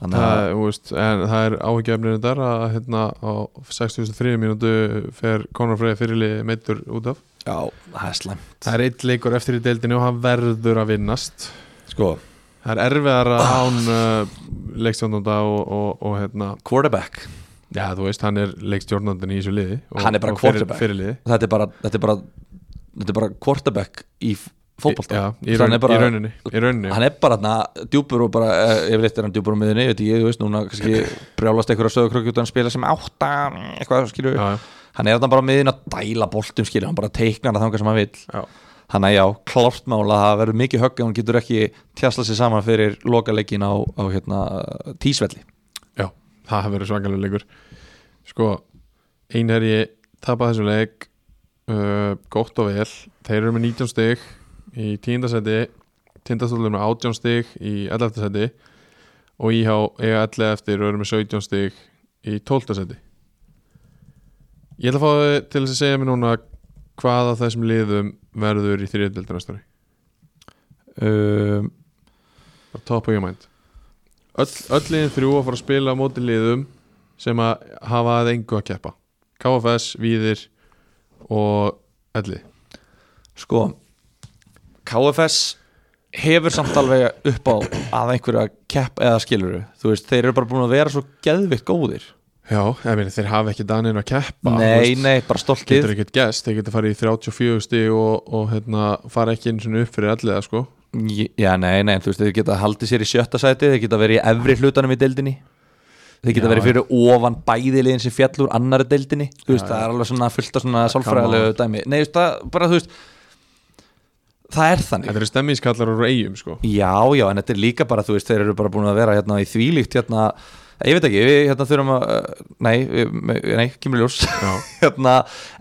þannig að
Það, þú veist, en það er áhyggjöfnir þar að hérna á 63 mínútu fer Conor Frey fyrirli meittur út af
já, það er slæm
Það er eitt leikur eftir í deildinu og hann verður að vinnast
sko,
Það er erfiðar að án uh, leikstjórnanda og, og, og hérna
quarterback,
Já, þú veist, hann er leikstjórnandin í þessu liði og,
Hann er bara
og fyrir-
quarterback.
Fyrirliði
þetta er bara þetta er bara, þetta er bara quarterback í f- fótbolta
Já, í,
Þannig
raun,
er bara-
í rauninni Í rauninni
hann er bara þarna djúpur og bara eh, ef þetta er hann djúpur á miðinni, veit ég, þú veist, núna kannski brjálast einhverja sögurkröki út að hann spila sem átta eitthvað, skilju,
Já, já.
hann er þarna bara á miðinni að dæla boltum, skilju, hann bara teiknar það þangað sem hann vill,
Já.
hann að já, klárt mála það verður mikið högg ef hann getur ekki tjasla sér saman fyrir lokaleikin á, á hérna, tísvelli
Já, það hafi verið svakalegu leikur Sko, einherji tapað þessum leik uh, gott og vel, þeir eru með 19 stig í 10. seti tindastóllum með 18 stig í 11. seti og íhá eiga 11 eftir og eru með 17 stig í 12. seti Ég ætla að fá þau til þess að segja mér núna hvað af þessum liðum verður í þriðdeldina stóri
um,
bara top of your mind öll, öll liðin þrjú að fara að spila á móti liðum sem að hafa að engu að keppa KFS, Víðir og Elli
sko KFS hefur samt alveg upp á að einhverja kepp eða skiluru þú veist, þeir eru bara búin að vera svo geðvikt góðir
Já, ég meina þeir hafa ekki daninu að keppa
nei, nei,
Þeir
bara
getur
stoltið
ekkert gæst, þeir getur farið í 34 stig og, og hérna, fara ekki einu sinni upp fyrir alliða sko
já, nei, nei, þú veist, þeir geta haldið sér í sjötta sæti þeir geta verið í efri hlutanum í deildinni þeir geta
Já,
verið fyrir ofan bæðiliðin sem fjallur annari deildinni þú veist,
Já,
það er alveg svona fullt af svona sálfræðilegu
come
dæmi nei, þú veist, það, bara þú veist það er þannig
Þetta eru stemmingskallar og reyjum sko
Já, já, en þetta er líka bara, þú veist, þeir eru bara búin að vera hérna í þvílíkt, hérna, ég veit ekki, við hérna þurfum að, uh, nei, við- nei, kemur ljós, (laughs)
Já.
hérna,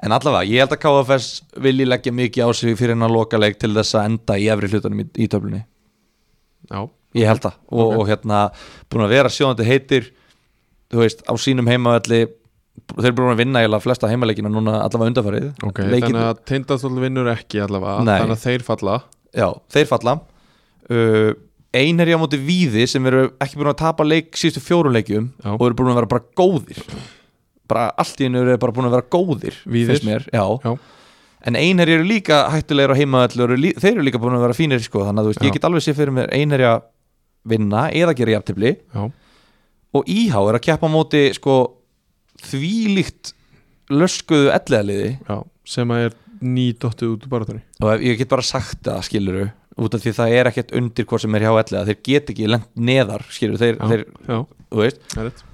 en allavega, ég held að KFS vilji leggja mikið á sig fyrir hennar lokaleik til þess að enda í efri hlutunum í, í töflunni,
Já,
ég held það, og,
Ok.
og hérna, búin að vera sjóðandi heitir, þú veist, á sínum heimavalli, þeir eru búin að vinna eiginlega flesta heimaleikina núna allavega undarfarið,
ok,
Leikirnir-
þannig að tindastóll vinnur ekki allavega,
Nei.
þannig að þeir falla
Já, þeir falla uh, Einherji á móti víði sem eru ekki búin að tapa leik síðustu fjórum leikjum
Já.
og eru búin að vera bara góðir bara allt í hennu eru þeir bara búin að vera góðir
Víðir.
finnst mér, já.
Já.
En einherji eru líka hættulegur á heimaðall eru, lí- þeir eru líka búin að vera fínir sko þannig að þú veist,
Já.
ég get alveg sér fyrir mér einherji að vinna eða gera jafntefli
Já,
og íhá er að keppa á móti sko þvílíkt löskuðu elleðaliði
já, sem að er nýdóttu út úr baratunni
og ef, ég get bara sagt það skiluru út af því það er ekkert undir hvort sem er hjá ellega þeir get ekki lent neðar skiluru þeir,
Já,
þeir,
já,
þú veist
það er rétt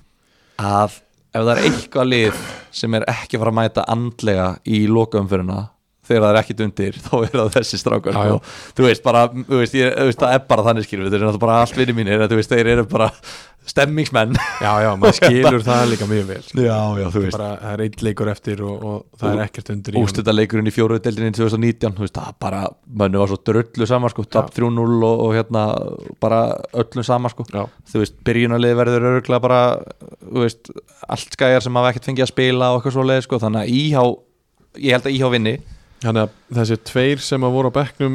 að ef það er eitthvað lið sem er ekki að fara að mæta andlega í lokaumfyrirna þegar það er ekkert undir (laughs) þá er það þessi strákar
Já, já.
og, þú veist bara, þú veist, ég, þú veist það er bara þannig skiluru þeir eru náttúrulega bara allt vinni mínir en þú veist þeir eru bara stemmingsmenn
Já, já, maður skilur það líka mjög vel
já, já, þú veist
bara, það er eitt leikur eftir og, og það er ekkert
(laughs)
undir í honum.
ústölda leikurinn í fjóruðdeldinni 2019, þú veist, það bara mönnu var svo drullu sama, sko, tap 3-0 og, og hérna, bara öllum sama, sko,
Já.
þú veist, byrjunarlið verður örgulega bara, þú veist allt skæjar sem hafa ekkert fengið að spila og eitthvað svo leið, sko, þannig að íhá ég held að íhá vinni,
Þannig að þessi tveir sem að voru á bekknum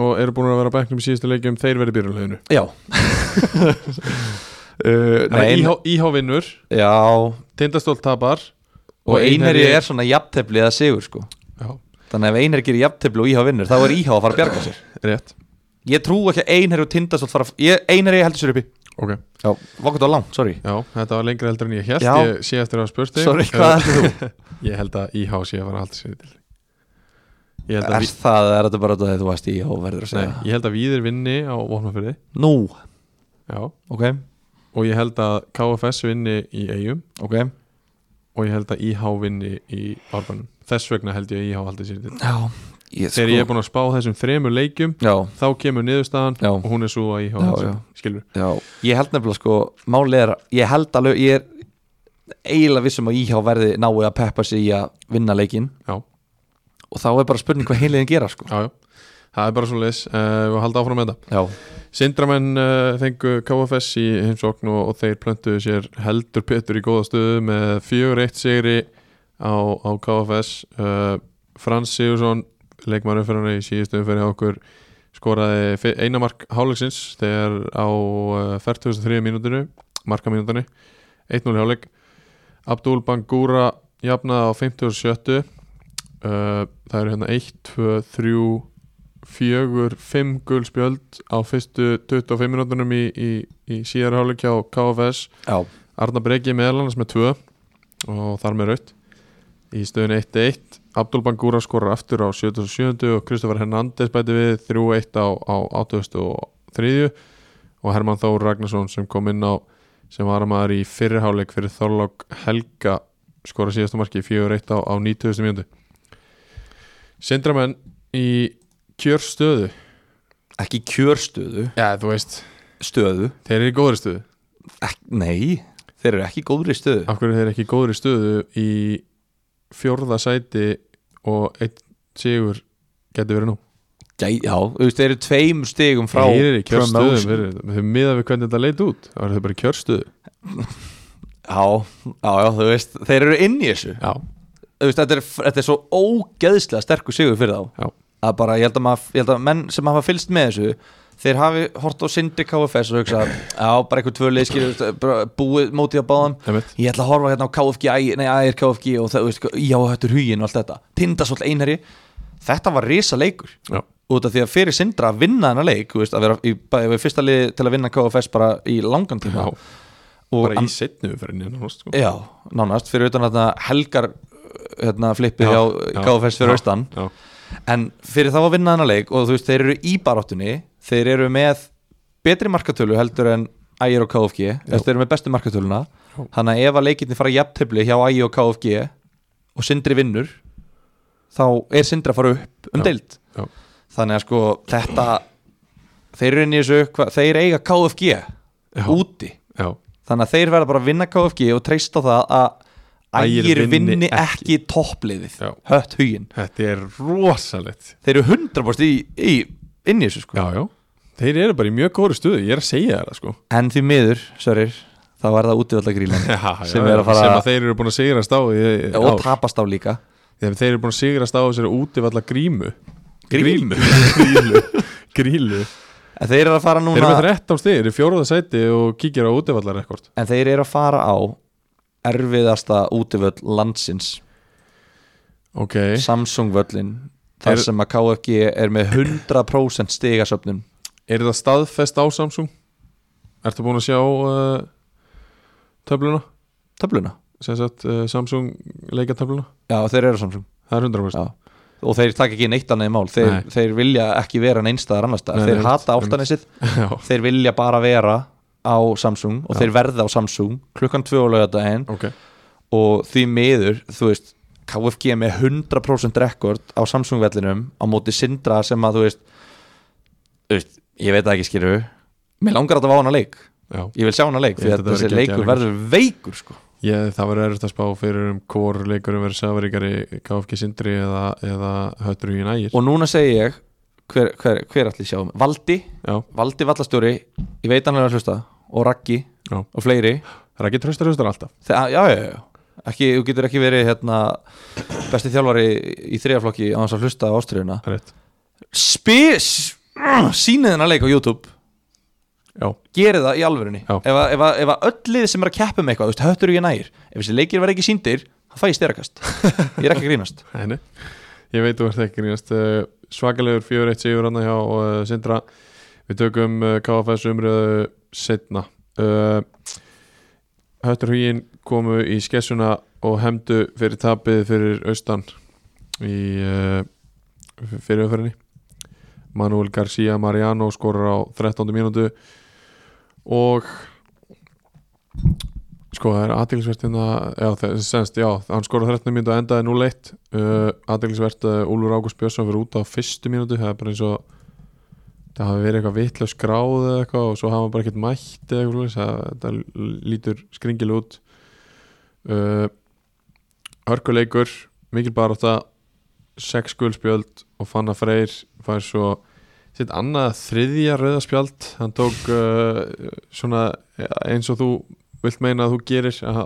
og eru búin að vera á bekknum í síðustu leikjum þeir verði byrjunleginu
já (laughs) uh,
Þannig að IH- IH vinnur,
já,
Tindastóll tapar
og einherji er svona jafntefli eða sigur, sko,
Já,
þannig að ef einherji gerir jafntefli og íhá vinnur, þá er íhá að fara að bjarga sér
rétt,
ég trú ekki að einherji og tindastótt fara að- ég- einherji heldur sér uppi,
ok
já, vakkut á langt, sorry
Já, þetta var lengra heldur en ég held
Já.
Ég sé eftir að hafa spurt þig
Sorry, hvað heldur þú?
Eh, (laughs) Ég held að IH sé að fara að halda sér til Ég held að,
Er
við,
það, er þetta bara þetta þegar þú varst í og verður að segja
nei, ég held að Víðir vinni á Vopnafyrði
Nú,
Já,
ok,
og ég held að KFS vinni í Eyjum
ok
og ég held að IH vinni í árbænum þess vegna held ég að IH haldi sér til
Já, ég
þegar ég sko- er búin að spá þessum þremur leikjum
Já,
þá kemur niðurstaðan
Já.
og hún er svo að IH
Já,
haldi sér
já.
til, skilur
já, ég held nefnilega sko Málið er, ég held alveg, ég er eiginlega vissum að íhjá verði náu að peppa sig í að vinna leikin
já,
og þá er bara spurning hvað heiliðin gera sko.
já, já Það er bara svo leis, uh, við haldum áfram með þetta
Já,
Sindramenn uh, fengu KFS í heimsókn og, og þeir plöntuðu sér heldur Petur í góða stöðu með 4-1 sigri á, á KFS uh, Frans Sigursson leikmaður umferðan í síðustu umferði hjá okkur skoraði fi- eina mark hálfleiksins þegar á uh, 43 mínútinu markamínútinu 1-0 hálfleik Abdul Bangura jafnaði á 57 uh, það eru hérna 1, 2, 3 fjögur, fimm gulspjöld á fyrstu 25 minútunum í, í, í síðara hálfleik hjá KFS
já,
Arna Breki meðalans með tvö og þar með raut í stöðun 1-1 Abdul Bangura skorar aftur á 77 og Kristoffer Hernandez bæti við 3-1 á, á 83 og Herman Þór Ragnarsson sem kom inn á sem var maður í fyrirháleik fyrir Þorlók Helga skora síðasta marki 4-1 á, á 90. mjöndu Sindramenn í kjörstöðu
ekki kjörstöðu
Já, þú veist,
stöðu,
þeir eru í góðri stöðu
Ek, nei þeir eru ekki í góðri stöðu
Af hverju eru þeir ekki í góðri stöðu í fjórða sæti og einn sigur getur verið nú
Já, já þú veist, þeir eru tveim stigum frá
Þeir eru í kjörstöðu,
promotion.
þeir eru miðað við hvernig þetta leit út Það eru þeir bara í kjörstöðu
Já, já, já, þú veist, þeir eru inn í þessu
Já,
Þú veist, þetta, er, þetta er svo ógeðslega sterkur sigur fyrir þá
já,
að bara, ég held að, maður, ég held að menn sem hafa fylst með þessu þeir hafi hort á Sindi KFS og hugsa já, bara eitthvað tvö leiðskil búið mótið á báðum
einmitt
ég ætla að horfa hérna á KFG, æ- nei, ægir KFG og það, þú veist, já, þetta er hugin og allt þetta Tindasóll einherji, þetta var risa leikur
Já,
út af því að fyrir Sindra að vinna hennar leik, þú veist, að vera í, bæði við fyrsta liði til að vinna KFS bara í langan
já,
tíma og
bara í setnu fyrir henni sko.
já, nánast, fyrir utan hérna helgar hérna, flippið hjá
já,
KFS fyrir
já,
austan
Já,
En fyrir þá að vinna þennan leik og þú veist, þeir eru í baráttunni þeir eru með betri markatölu heldur en Ægir og KFG þess þeir eru með bestu markatöluna
Já.
þannig að ef að leikinni fara jafntöfli hjá Ægir og KFG og Sindri vinnur þá er Sindri að fara upp um
Já.
deild
Já.
þannig að sko þetta þeir eru inn í þessu, hva, þeir eiga KFG
Já.
úti
já,
þannig að þeir verða bara að vinna KFG og treysta á það að
Ægir
Ægir
vinni
vinni ekki, ekki toppliðið
Já.
hött huginn
þetta er rosalegt
þeir eru 100% í, í, inn í þessu sko
Já, já, þeir eru bara í mjög góðri stöðu Ég er að segja þér það sko
en því miður, Sörir, þá er það útivallagrílan
já, já,
Sem er að fara-
sem að þeir eru búin að sigrast á í, í,
og
ár.
tapast á líka
Þegar þeir eru búin að sigrast á þessari útivalla grímu
Grímu?
Grílu, grílu.
en þeir eru að fara
Þeir eru með
núna
13 stig, þeir eru í fjóruða sæti og kíkir á útivalla rekord
en þeir eru að fara á erfiðasta útivöll landsins
Ok,
Samsung völlin þar
Er-
sem að KFG er með 100% stigasöfnun
er þetta staðfest á Samsung? Ertu búin að sjá uh, töfluna?
töfluna,
Sem sagt uh, Samsung leikatöfluna?
já þeir eru Samsung
Það er 100%
já. og þeir taka ekki neitt annað í mál þeir,
Nei.
þeir vilja ekki vera neinstæðar annars staðar
Nei,
þeir
nei,
hata
einmitt.
áltanessið
(laughs) Já.
þeir vilja bara vera á Samsung og þeir verða á Samsung klukkan 2 á laugardaginn
Ok,
og því miður, þú veist KFG er með 100% rekord á Samsung vellinum á móti Sindra sem að þú veist, þú veist ég veit það ekki skilju mér langar að það var hana leik,
já
ég vil sjá hana leik
Ég
því
held
að
að þetta
þessi
verði
leikur
geggjaður
verður veikur sko.
Ég, það verður erfitt að spá fyrir um hvor leikurum verður safaríkari KFG Sindri eða, eða höttur í nægir
og núna segi ég hver, hver, hver allir sjáum, Valdi
Já,
Valdi Vallastjóri, ég veit hann er að hlusta og Raggi
Já.
og fleiri
það er ekki tröstar hlustar alltaf
Þa, já, já, já, ekki, þú getur ekki verið hérna, besti þjálfari í þriðaflokki á hans að hlusta á ástriðuna
Það er rétt
spis sínið hennar leik á YouTube
Já,
gerið það í alvörunni
Já.
ef, að- ef, að- ef að öll lið sem er að keppa með eitthvað þú veist, höttur ég nær, ef þessi leikir verða ekki síndir þá fæ ég styrakast, ég er ekki að grínast (laughs)
Nei, ég veit þú ert ekki grínast Eh, svakalegur 4-1 sigur hann hjá uh, Sindra við tökum uh, KFS umröðu setna uh, Höttur Hugin komu í skessuna og hemdu fyrir tapið fyrir austan í uh, fyrir öferinni Manuel García Mariano skorar á 13. mínútu og Sko það er aðeinsvert hérna, já, það er senst, já, hann skoraði 13 mínútu og endaði 0-1 uh, aðeinsvert uh, Úlfur Ágúst Björnsson fyrir út á fyrstu mínútu, það er bara eins og það hafi verið eitthvað vitlega skráð eða eitthvað og svo hafa hann bara ekkert mætt eða eitthvað, svoleiðis, það, það lítur skringileg út uh, Hörkuleikur mikil baróta sex guldspjöld og Fanna Freyr fær svo sitt annað þriðja rauðaspjald hann tók uh, svona ja, eins og þú vilt meina að þú gerir að,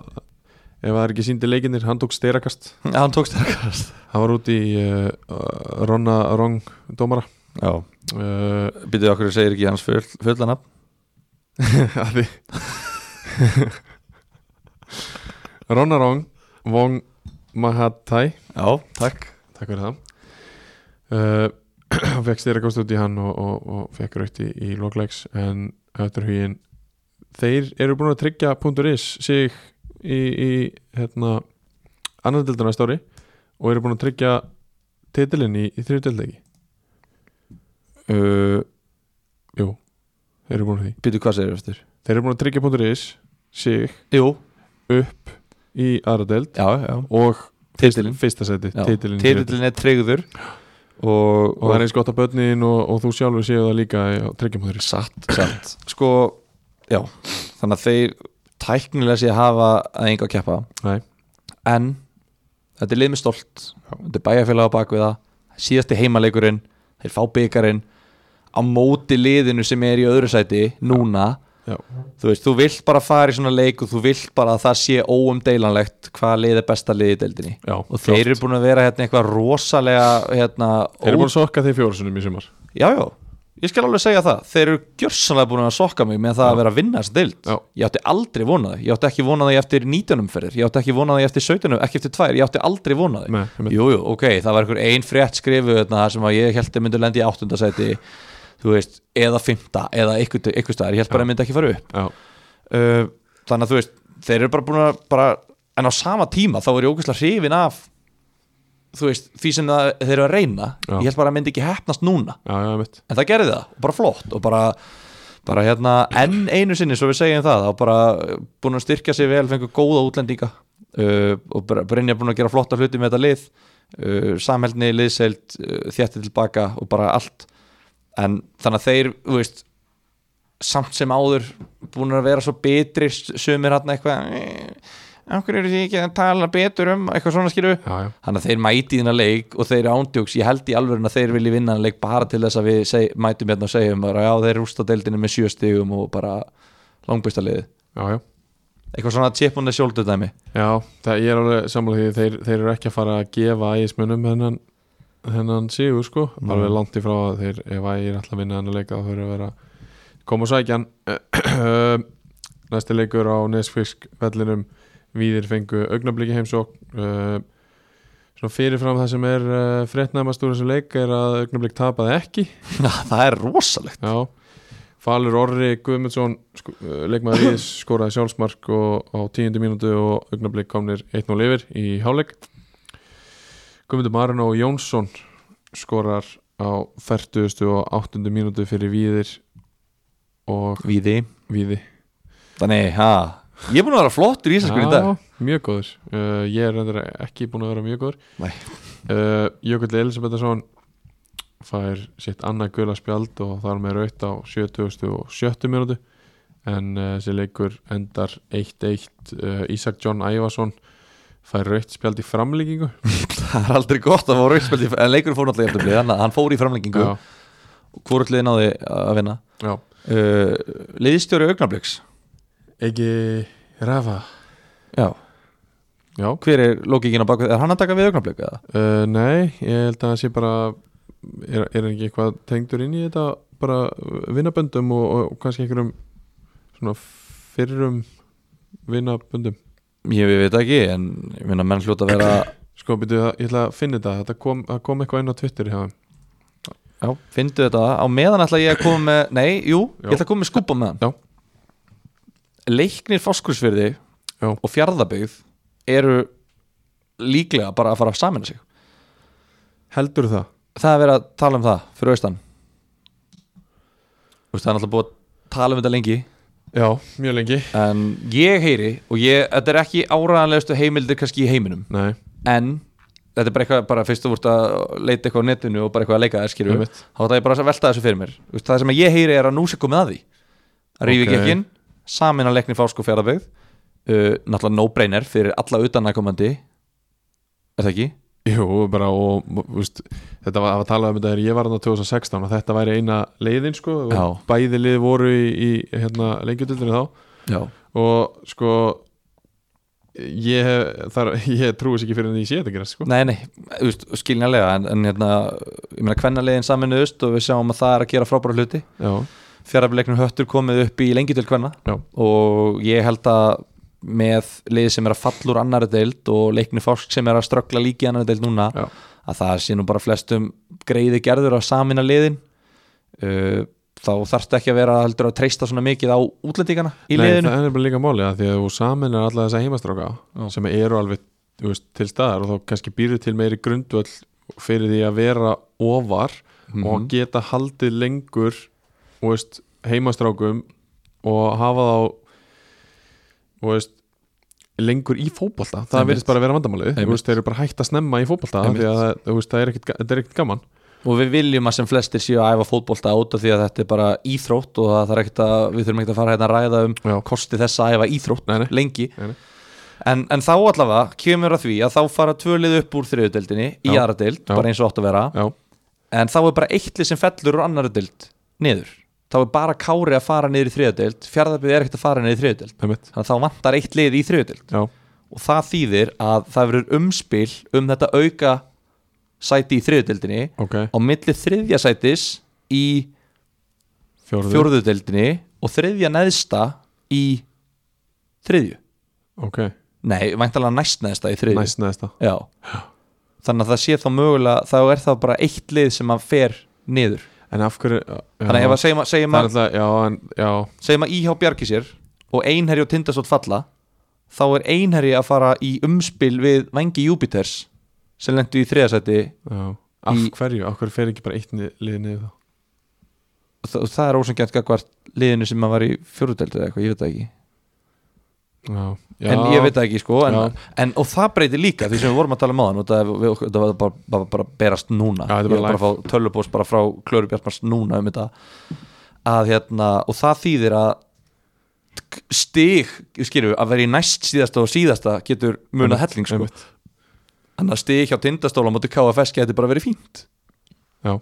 ef það er ekki síndi leikinir hann tók styrakast
hann tók sterkast
hann var út í uh, Ronna Rong dómara
já,
uh,
býtið okkur segir ekki hans full, fullanab
(laughs) að því (laughs) Ronnarong Wong Mahatai
já, takk
takk fyrir (clears throat) það uh, hann fekk styrra kost út í hann og, og, og fekk raukt í, í loklegs en öttur hugin þeir eru búin að tryggja .is sig í, í hérna, annardildina stóri og eru búin að tryggja titilinn í, í þriðdildegi
uh,
jú, þeir eru búin að því
býtið hvað segir eftir
þeir eru búin að tryggja .is sig
jú,
upp í aðradeld
já, já
og
Titilinn.
fyrsta seti,
Já,
titilin,
titilin er tryggður og,
og það er eins gott að börnin og, og þú sjálfur séu það líka á tryggjumhóður
(clears throat) satt, satt sko, já, þannig að þeir tæknilega sé hafa að enga að keppa
Nei.
en þetta er lið með stolt þetta er bæjarfélag á bakvið það síðasti heimaleikurinn, þeir fá byggarinn á móti liðinu sem er í öðru sæti núna
Já.
þú veist, þú vilt bara fara í svona leik og þú vilt bara að það sé óumdeilanlegt hvaða lið er besta lið í deildinni
Já,
og þeir eru búin að vera hérna eitthvað rosalega hérna,
Þeir eru búin að sokka þeir fjórusunum í sumar
Já, já, ég skal alveg segja það Þeir eru gjörsanlega búin að sokka mig með það að vera að vinna þess dild
Já.
Ég átti aldrei vonað Ég átti ekki vonað því eftir 19 umferðir Ég átti ekki vonað því eftir 17, ekki eftir 2 Ég átti aldrei vonað því
Nei, einmitt.
Jú, jú, ok, það var einhver ein frétt skrifu þarna, sem að ég held að myndi lendi í áttundasæti Þú veist, eða fymta eða einhver einhver staðar, ég held bara að myndi ekki fara upp
Já, Eh,
uh, Þannig að þú veist, þeir eru bara búin að bara, En á sama tíma þá er ég ógæslega hrifin af Þú veist, því sem það, þeir eru að reyna
Já.
Ég held bara að myndi ekki heppnast núna
já, já, mitt
en það gerði það, og bara flott og bara, bara hérna enn einu sinni svo við segjum það, þá bara uh, búin að styrkja sig vel, fengur góða útlendinga uh, og Br- Brynja búin að gera flotta hluti með þetta lið uh, samheldni, liðseild, uh, þjætti tilbaka og bara allt en þannig að þeir, þú veist samt sem áður búin að vera svo betri sumir hann eitthvað eh, af hverju eru þið ekki að tala betur um eitthvað svona skilju
Já, já,
Þannig að þeir mæti þína leik og þeir ándjóks, ég held í alvörun að þeir vilji vinna þennan leik bara til þess að við seg, mætum hérna og segjum bara já þeir rústa deildinu með sjö stigum og bara langbæsta liði.
já, já
Eitthvað svona tjepunni sjóldu (laughs) dæmi.
Já, það, ég er alveg sammála því þeir, þeir eru ekki að fara að gefa ægismunum hennan, hennan sigur sko
Nei.
alveg langt í frá að þeir ef ægir alltaf vinna hennar leika þá þurfa að vera koma og sækja hann næsti leikur á Nesfisk vellinum Víðir fengu augnabliki heimsók uh, svona fyrirfram það sem er uh, frettnæmast úr þessu leik er að augnablik tapaði ekki
það er rosalegt.
Já, Falur Orri Guðmundsson sko, eh, leikmaður Íðis skoraði sjálfsmark og, á tíundu mínútu og augnablik komnir 1-0 yfir í hálfleik Guðmundur Marino og Jónsson skorar á 40. og 8. mínútu fyrir Víðir og
Víði.
Víði
Þannig, ha, ég er búin að vera flottur í Íslandskunni í dag.
mjög góður uh, Ég er reyndar ekki búin að vera mjög góður
Nei.
uh, Jökull Elisabethason fær sitt annað gula spjald og þar með raut á 77. minútu en uh, þessi leikur endar 1-1 uh, Ísak John Ævason fær raut spjald í framlíkingu
(laughs) það er aldrei gott að fá rauðspildi, en leikur fór náttúrulega eftir blið, þannig að hann fór í framlengingu
já,
og hvort liði náði að vinna.
já.
Uh, liðstjóri augnabliks.
ekki rafa
Já.
já,
Hver er lókikinn á bakvið? Er hann að taka við augnablik eða?
Uh, nei, ég held að það sé bara er, er hann ekki eitthvað tengdur inn í þetta bara vinnaböndum og, og kannski einhverjum svona fyrrum vinnaböndum
Ég við veit ekki, en ég minna menn hljóta að vera
Sko, byrju, það- ég ætla að finna þetta þetta kom, það kom eitthvað inn á Twitter hjá þeim
Já, fyndu þetta Á meðan ætla ég að koma með, nei, jú
Já.
Ég ætla að koma með skúpa með hann
Já.
Leiknir fóskursfyrði
Já.
og fjarðabyggð eru líklega bara að fara að samina sig
Heldur það?
Það er verið að tala um það fyrir austan Þú veist, Það er náttúrulega búið að tala um þetta lengi
Já, mjög lengi
En ég heyri og ég, þetta er ekki áraðanlegustu heimildir kannski í heiminum
Nei,
en þetta er bara eitthvað, bara fyrst þú vort að leita eitthvað á netinu og bara eitthvað að leika þær skilju
Einmitt.
þá ætla ég bara að velta þessu fyrir mér Þú veist, það sem að ég heyri er að nú sé komið að því að rífi
Ok.
okay. gekkin, samin að leikni fásk og fjaraðbyggð uh, náttúrulega no-brainer fyrir alla utanakomandi er það ekki?
Jú, bara og veist, þetta var, það var talað um þetta þegar ég var þarna 2016 að þetta væri eina leiðin sko og
Já.
bæði lið voru í, í hérna, lengjutildinu þá
Já,
og sko ég, hef- þar, ég trúis ekki fyrir en ég sé þetta gerast sko
Nei, nei, þú veist, skiljanlega en, en hérna, ég meina kvennalegin saminuðust og við sjáum að það er að gera frábæra hluti
Já,
fjaraðbleiknum höttur komið upp í lengi til kvenna
Já.
og ég held að með liði sem er að falla úr annari deild og leikni fólk sem er að ströggla líki annari deild núna
Já.
að það sé nú bara flestum greiði gerður að samina liðin uh, þá þarftu ekki að vera heldur að treysta svona mikið á útlendingana í
Nei,
liðinu
það er bara líka máli að því að þú saminar alla þessa heimastráka
Já.
sem eru alveg þú veist, til staðar og þá kannski býrðu til meiri grundvöll fyrir því að vera ofar og geta haldið lengur þú veist, heimastrákum og hafa þá þú veist, lengur í fótbolta það
Einmitt.
verðist bara að vera vandamálið Þú
Einmitt.
veist, þeir eru bara hægt að snemma í fótbolta af því að það- þú veist, það er ekkit, ga- þetta er ekkit gaman
og við viljum að sem flestir séu að æfa fótbolta út af því að þetta er bara íþrótt og það er ekkert að við þurfum ekkert að fara hérna að ræða um
Já.
kosti þess að æfa íþrótt
Nei, nei.
lengi
Nei, nei.
En, en þá allavega kemur að því að þá fara tvölið upp úr þriðudeldinni í
Já.
aðra deild,
Já.
bara eins og átt að vera
Já,
en þá er bara eittlið sem fellur úr annara deild niður, þá er bara kári að fara niður í þriðudeld, fjárðarbyrði er ekkert að fara niður í þriðudeld,
það er mitt
þannig að þá vantar eitt lið í þriðudeld
Já,
og það þýðir að það verður umspil um þetta auka sæti í þriðudeldinni
ok,
á milli þriðja sætis í
fjórðu
fjórðudeldinni og þriðja neðsta í þriðju,
Ok,
nei, væntalega næst neðsta í þriðju
næst næsta
Já. Þannig að það sé þá mögulega þá er það bara eitt lið sem að fer niður
En af hverju
Þannig að ef að segjum að segjum
Það er
að,
alltaf, já, en, já,
segjum að íhá bjargi sér og einherji og tindastótt falla þá er einherji að fara í umspil við vengi Júpiters sem lendu í þriðasæti
já. Af
Í-
hverju, af hverju fer ekki bara eitt ni- lið niður þá?
og það, það er ósangjant gagvart liðinu sem að var í fjóruðeldi eða eitthvað, ég veit það ekki
Já, já
en ég veit það ekki sko en,
Já.
en, og það breytir líka því sem við vorum að tala um áðan og það, við, okkur- það var bara, bara, bara berast núna
Já, þetta er bara
ég var bara að fá tölupós bara frá Klöru Bjartmars núna um þetta að hérna og það þýðir að stig, skilju, að vera í næst síðasta og síðasta getur munað helling sko,
einmitt.
en að stig hjá tindastóla mútið KFS getur bara verið fínt
uh,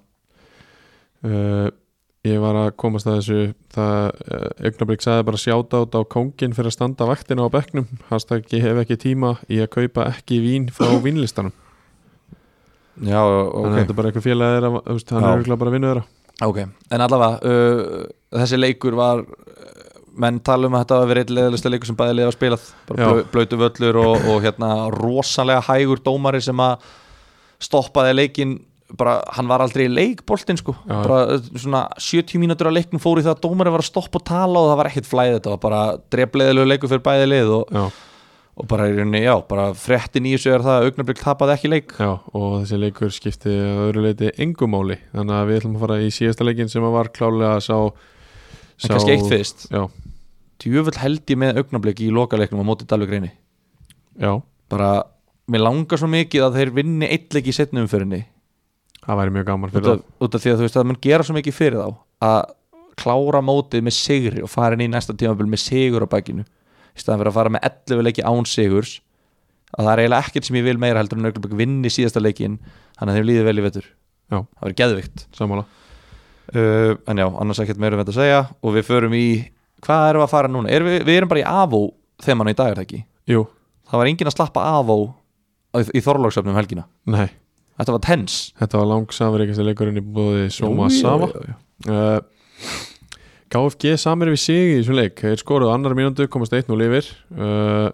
Ég var að komast að þessu Það, uh, Augnablík sagði bara sjátátt á kóngin fyrir að standa vaktina á bekknum Hashtag ég hef ekki tíma í að kaupa ekki vín
(laughs)
frá vínlistanum
já,
Þannig að þetta er bara eitthvað félag þeirra þú veist, Hann
Já.
er auðvitað bara að vinna þeirra
Ok, en allavega uh, þessi leikur var uh, menn tala um að þetta var verið leðilegsta leikur sem bæði leiði að spilað bara
Já.
blö, blöytu völlur og, og hérna rosalega hægur dómari sem að stoppaði leikinn bara, hann var aldrei í leikboltinn sko
Já.
bara uh, svona 70 mínútur að leiknum fóru í það að dómari var að stoppa og tala og það var ekkit flæði þetta var bara drefleðilegu leikur fyrir bæði leið og,
Já,
og bara í rauninni, já, bara fréttin í þessu er það að augnablik tapaði ekki leik
já, og þessi leikur skipti að öðru leiti engumáli Þannig að við ætlum að fara í síðasta leikin sem að var klálega sá,
en kannski eitt fyrst,
Já,
djöfull held ég með augnablik í lokaleiknum á móti Dalvik
já,
bara, mér langar svo mikið að þeir vinni eitleik í setni umfyrinni
það væri mjög gaman
út
fyrir
af, út af því að þú veist að mun gera svo mikið fyrir þá að klára mótið með sigri og fara inn í næsta tímabil með sigur á bakinu í staðan fyrir að fara með 11 leiki án sigurs að það er eiginlega ekkert sem ég vil meira heldur en auðvitað vinni síðasta leikin þannig að þeim líði vel í vetur
Já.
það verður geðvikt
það Sammála
uh, en já, annars ekkert meira um þetta að segja og við förum í, hvað erum við að fara núna? Erum við, við erum bara í avó þegar mann í dag er það ekki
Jú,
það var enginn að slappa avó í, í Þorlóksöfnum helgina
nei,
Þetta var tens
þetta var langsamur ekki sem leikurinn í búði Soma Sama uh, KFG samir við sig í þessum leik þeir skoruðu á annar mínúndu, komast 1-0 yfir uh,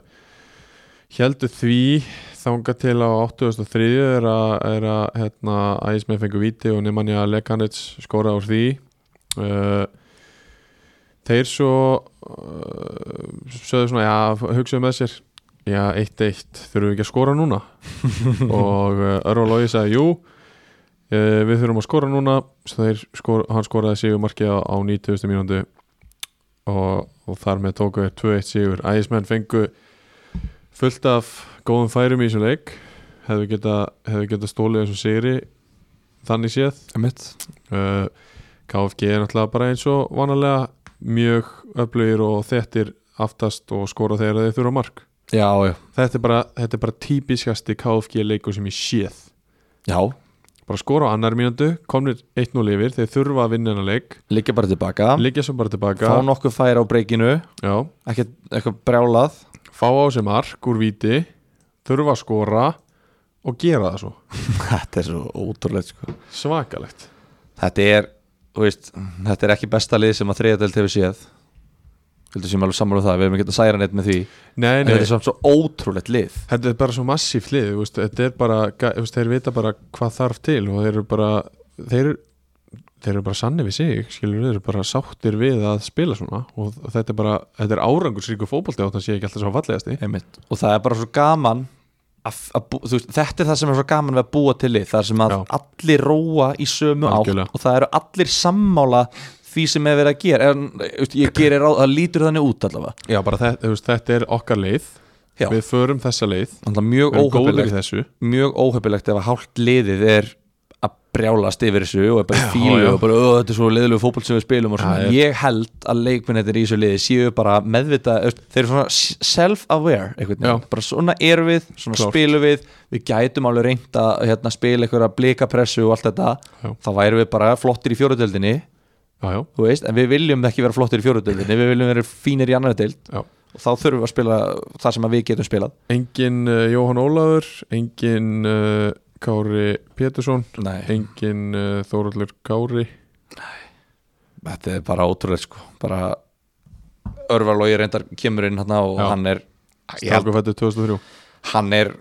heldur því þanga til á 83 er að, er að hérna, ægismenn fengu víti og Nemanja Lekanits skoraði úr því uh, þeir svo uh, sögðu svona, já, hugsaðu með sér já, 1-1, þurfum við ekki að skora núna og uh, Örvar Lógi sagði, jú uh, við þurfum að skora núna svo þeir skor, hann skoraði sigurmarkið á, á 90. mínúndu og, og þar með tóku þeir 2-1 sigur ægismenn fengu fullt af góðum færum í þessum leik hefðu geta, hefðu geta stólið þessum sigri þannig séð Eh,
Emitt
uh, KFG er náttúrulega bara eins og vanalega mjög öflugir og þettir aftast og skora þegar þeir þurfa mark
já, já,
þetta er bara, þetta er bara típiskasti KFG leikur sem ég séð
já,
bara skora á annar mínútu, komnir 1-0 yfir þeir þurfa að vinna hennar leik
liggja bara tilbaka
liggja svo bara tilbaka
fá nokkuð færi á breykinu
já,
ekki eitthvað brjálað
fá á sig mark úr viti þurfa að skora og gera það svo
(laughs) þetta er svo ótrúlegt sko
svakalegt
þetta er, þú veist, þetta er ekki besta lið sem að þriðadelt hefur séð heldur sem alveg sammála um það, við hefum ekki að særa neitt með því
nei,
en
nei,
þetta er samt svo ótrúlegt lið
þetta er bara svo massíf lið þú veist, þetta er bara, ga- þú veist, þeir vita bara hvað þarf til og þeir eru bara þeir, þeir eru bara sanni við sig skilur, þeir eru bara sáttir við að spila svona og þetta er bara, þetta er árangursríku fótbolti átt að sé ekki alltaf svo fallegasti
Einmitt. og það er bara svo gaman að, að, bú- þú veist, þetta er það sem er svo gaman við að búa til lið, það er sem að
Já.
allir róa í sömu
Algjörlega.
átt og það eru allir sammála því sem er verið að gera en, þú veist, ég gerir á, það lítur þannig út allavega
Já, bara þetta, þú veist, þetta er okkar leið
Já.
Við förum þessa leið
Þannig að mjög
Við erum góðir í
óhöpilegt
þessu
mjög óhöpilegt ef að hálft liðið er að brjálast yfir þessu og er bara í
já.
fílu og bara "Ö, þetta er svo leiðilegu fótboll sem við spilum og
Það
svona,
er-
ég held að leikmennir í þessu liði séu bara meðvita þú veist, þeir eru svona s- self-aware einhvern veginn.
Já.
bara svona erum við, svona
Klárt.
spilum við við gætum alveg reynd að hérna, spila einhverja blikapressu og allt þetta
Já.
þá værum við bara flottir í fjóruðöldinni
Já, já,
þú veist, en við viljum ekki vera flottir í fjóruðöldinni við viljum vera fínir í annar deild
já
og þá þurfum við að spila það sem að við getum spilað
Engin uh, Jóhann Ólafur Engin uh, Kári Pétursson
Nei.
Engin uh, Þóraldur Kári
Þetta er bara ótrúlega sko bara örfalói reyndar kemur inn hann og
Já.
hann er ég held,
Strákafættu 2003
hann er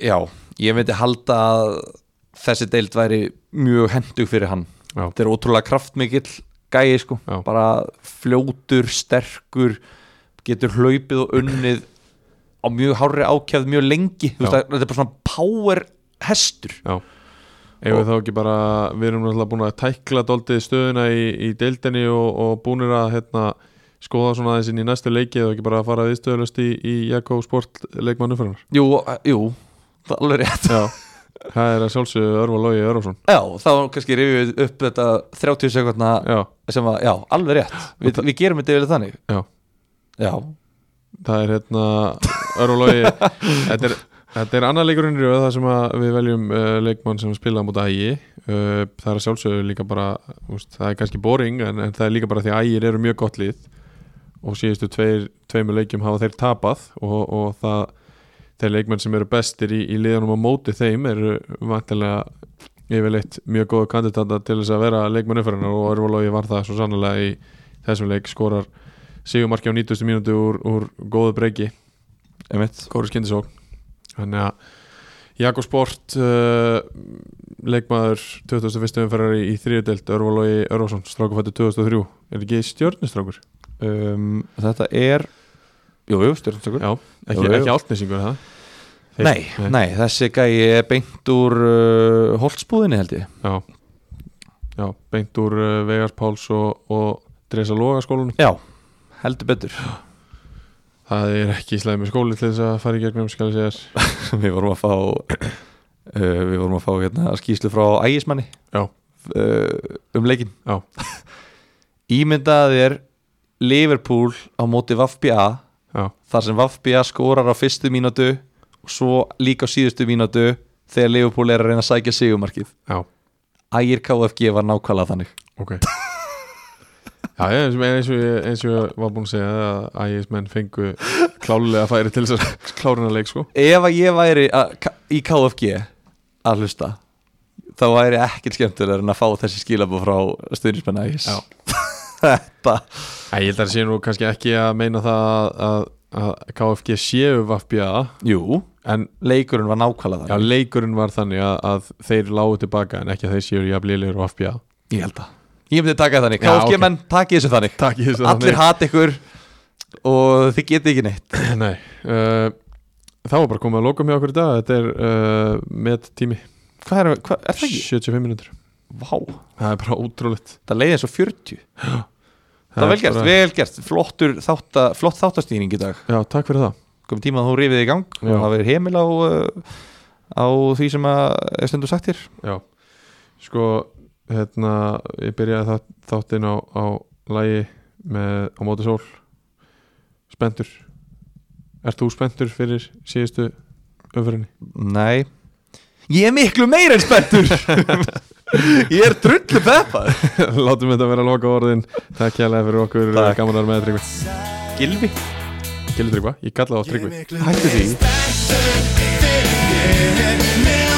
já, ég myndi halda að þessi deild væri mjög hendug fyrir hann
Já,
þetta er ótrúlega kraftmikill gæi sko
Já.
bara fljótur, sterkur getur hlaupið og unnið á mjög hárri ákjæð mjög lengi, Þú veist
Já.
að, þetta er bara svona power hestur
já Ef
Og-
við þá ekki bara, við erum náttúrulega búin að tækla dóltið stöðuna í, í deildinni og, og búinir að hérna, skoða svona aðeins inn í næstu leikið og ekki bara að fara við stöðlust í, í Jakko Sport leikmannu fyrir
jú, jú, það er alveg rétt
Já, (laughs) það er að sjálfsögðu Örvar Lógi Örvarsson
já, þá kannski rifið upp þetta 30 sekundna
Já,
sem að, já, alveg rétt Vi,
Og það-
við gerum þetta yfirlega þannig
já,
já,
það er hérna Örvar Lógi þetta, er- þetta er annar leikurinn í röð þar sem að við veljum uh, leikmann sem spila á móti ægi uh, Það er að sjálfsögðu líka bara úst, það er kannski boring en, en það er líka bara því að ægir eru mjög gott lið og síðustu tveir, tveimur leikjum hafa þeir tapað og, og það þeir leikmenn sem eru bestir í, í liðanum á móti þeim eru vantilega yfirleitt mjög góðu kandidata til þess að vera leikmenn uppfærinar og Örvalógi var það svo sannlega í þessum leik skorar sigumarki á 90. mínútu úr, úr góðu breyki
einmitt
Kóri Skindisók þannig að Jakob Sport uh, leikmaður 21. umferðar í, í þriðudelt Örvalógi Örvason, strákufættu 2003 er ekki stjörnustrákur?
um, þetta er jú, jú, stjórnstökur
Já, ekki,
Jú, jú.
ekki altnesingur er það?
nei, nei, þessi gæi er beint úr uh, holtsbúðinni held ég
Já, já beint úr uh, Vegars Páls og, og Dresa Loga skólanum
já, heldur betur
Það er ekki slæmi skóli til þess að fara í gegnum skal ég segja þér.
(laughs) við vorum að fá (clears throat) uh, við vorum að fá hérna skýslu frá ægismanni
Já,
uh, um leikin
já,
ímyndaði er Liverpool á móti Vafbja
já,
þar sem Vafbja skorar á fyrstu mínútu og svo líka á síðustu mínútu þegar Liverpool er að reyna að sækja sigumarkið
já
Ægir KFG var nákvæmlega þannig
Ok Já, já, eins og, eins, og, ég- eins og ég var búinn að segja að ægismenn fengu klálega færi til þess að klárina leik sko
Ef að ég væri að, K- í KFG að hlusta þá væri ekkert skemmtilegur en að fá þessi skilabú frá stuðnismenn Ægis
Já.
(laughs) Þetta
Æ, ég held að það sé nú kannski ekki að meina það að, að, að KFG séu vaffbja
Jú,
en
leikurinn var nákvæmlega
já,
þannig
leikurinn var þannig að, að þeir lágu tilbaka en ekki að þeir séu jafnliðir vaffbja
Ég held að Ég myndi taka það þannig,
Já,
KFG
ok.
menn, takk ég þessu þannig
Takk ég þessu
Allir hati ykkur og þið getið ekki neitt
Nei, uh, það var bara komið að lokum hjá okkur í dag Þetta er uh, met tími
Hvað er, hvað, er það ekki?
75 minútur
Vá,
Það er bara ótrúlegt
það leiði eins og 40 Það er vel gert,
bara-
vel gert Flottur þátt, flott þáttastýring í dag
Já, takk fyrir það
komið tíma að þú rifið í gang
Já.
og það verið heimil á, uh, á því sem að er stundu sagt hér
Já, sko, hérna Ég byrjaði það, þáttinn á, á lægi með á móti sól spenntur Ert þú spenntur fyrir síðustu umfyrinni?
Nei Ég er miklu meir en spenntur Ég er drullu peppað
(laughs) Látum þetta vera loka orðin Takk hérlega fyrir okkur
Takk.
Gaman að vera með Tryggvi
Gilvi
Gildur Tryggva, ég kalla það Tryggvi
Hættu því
Stærtur fyrir mér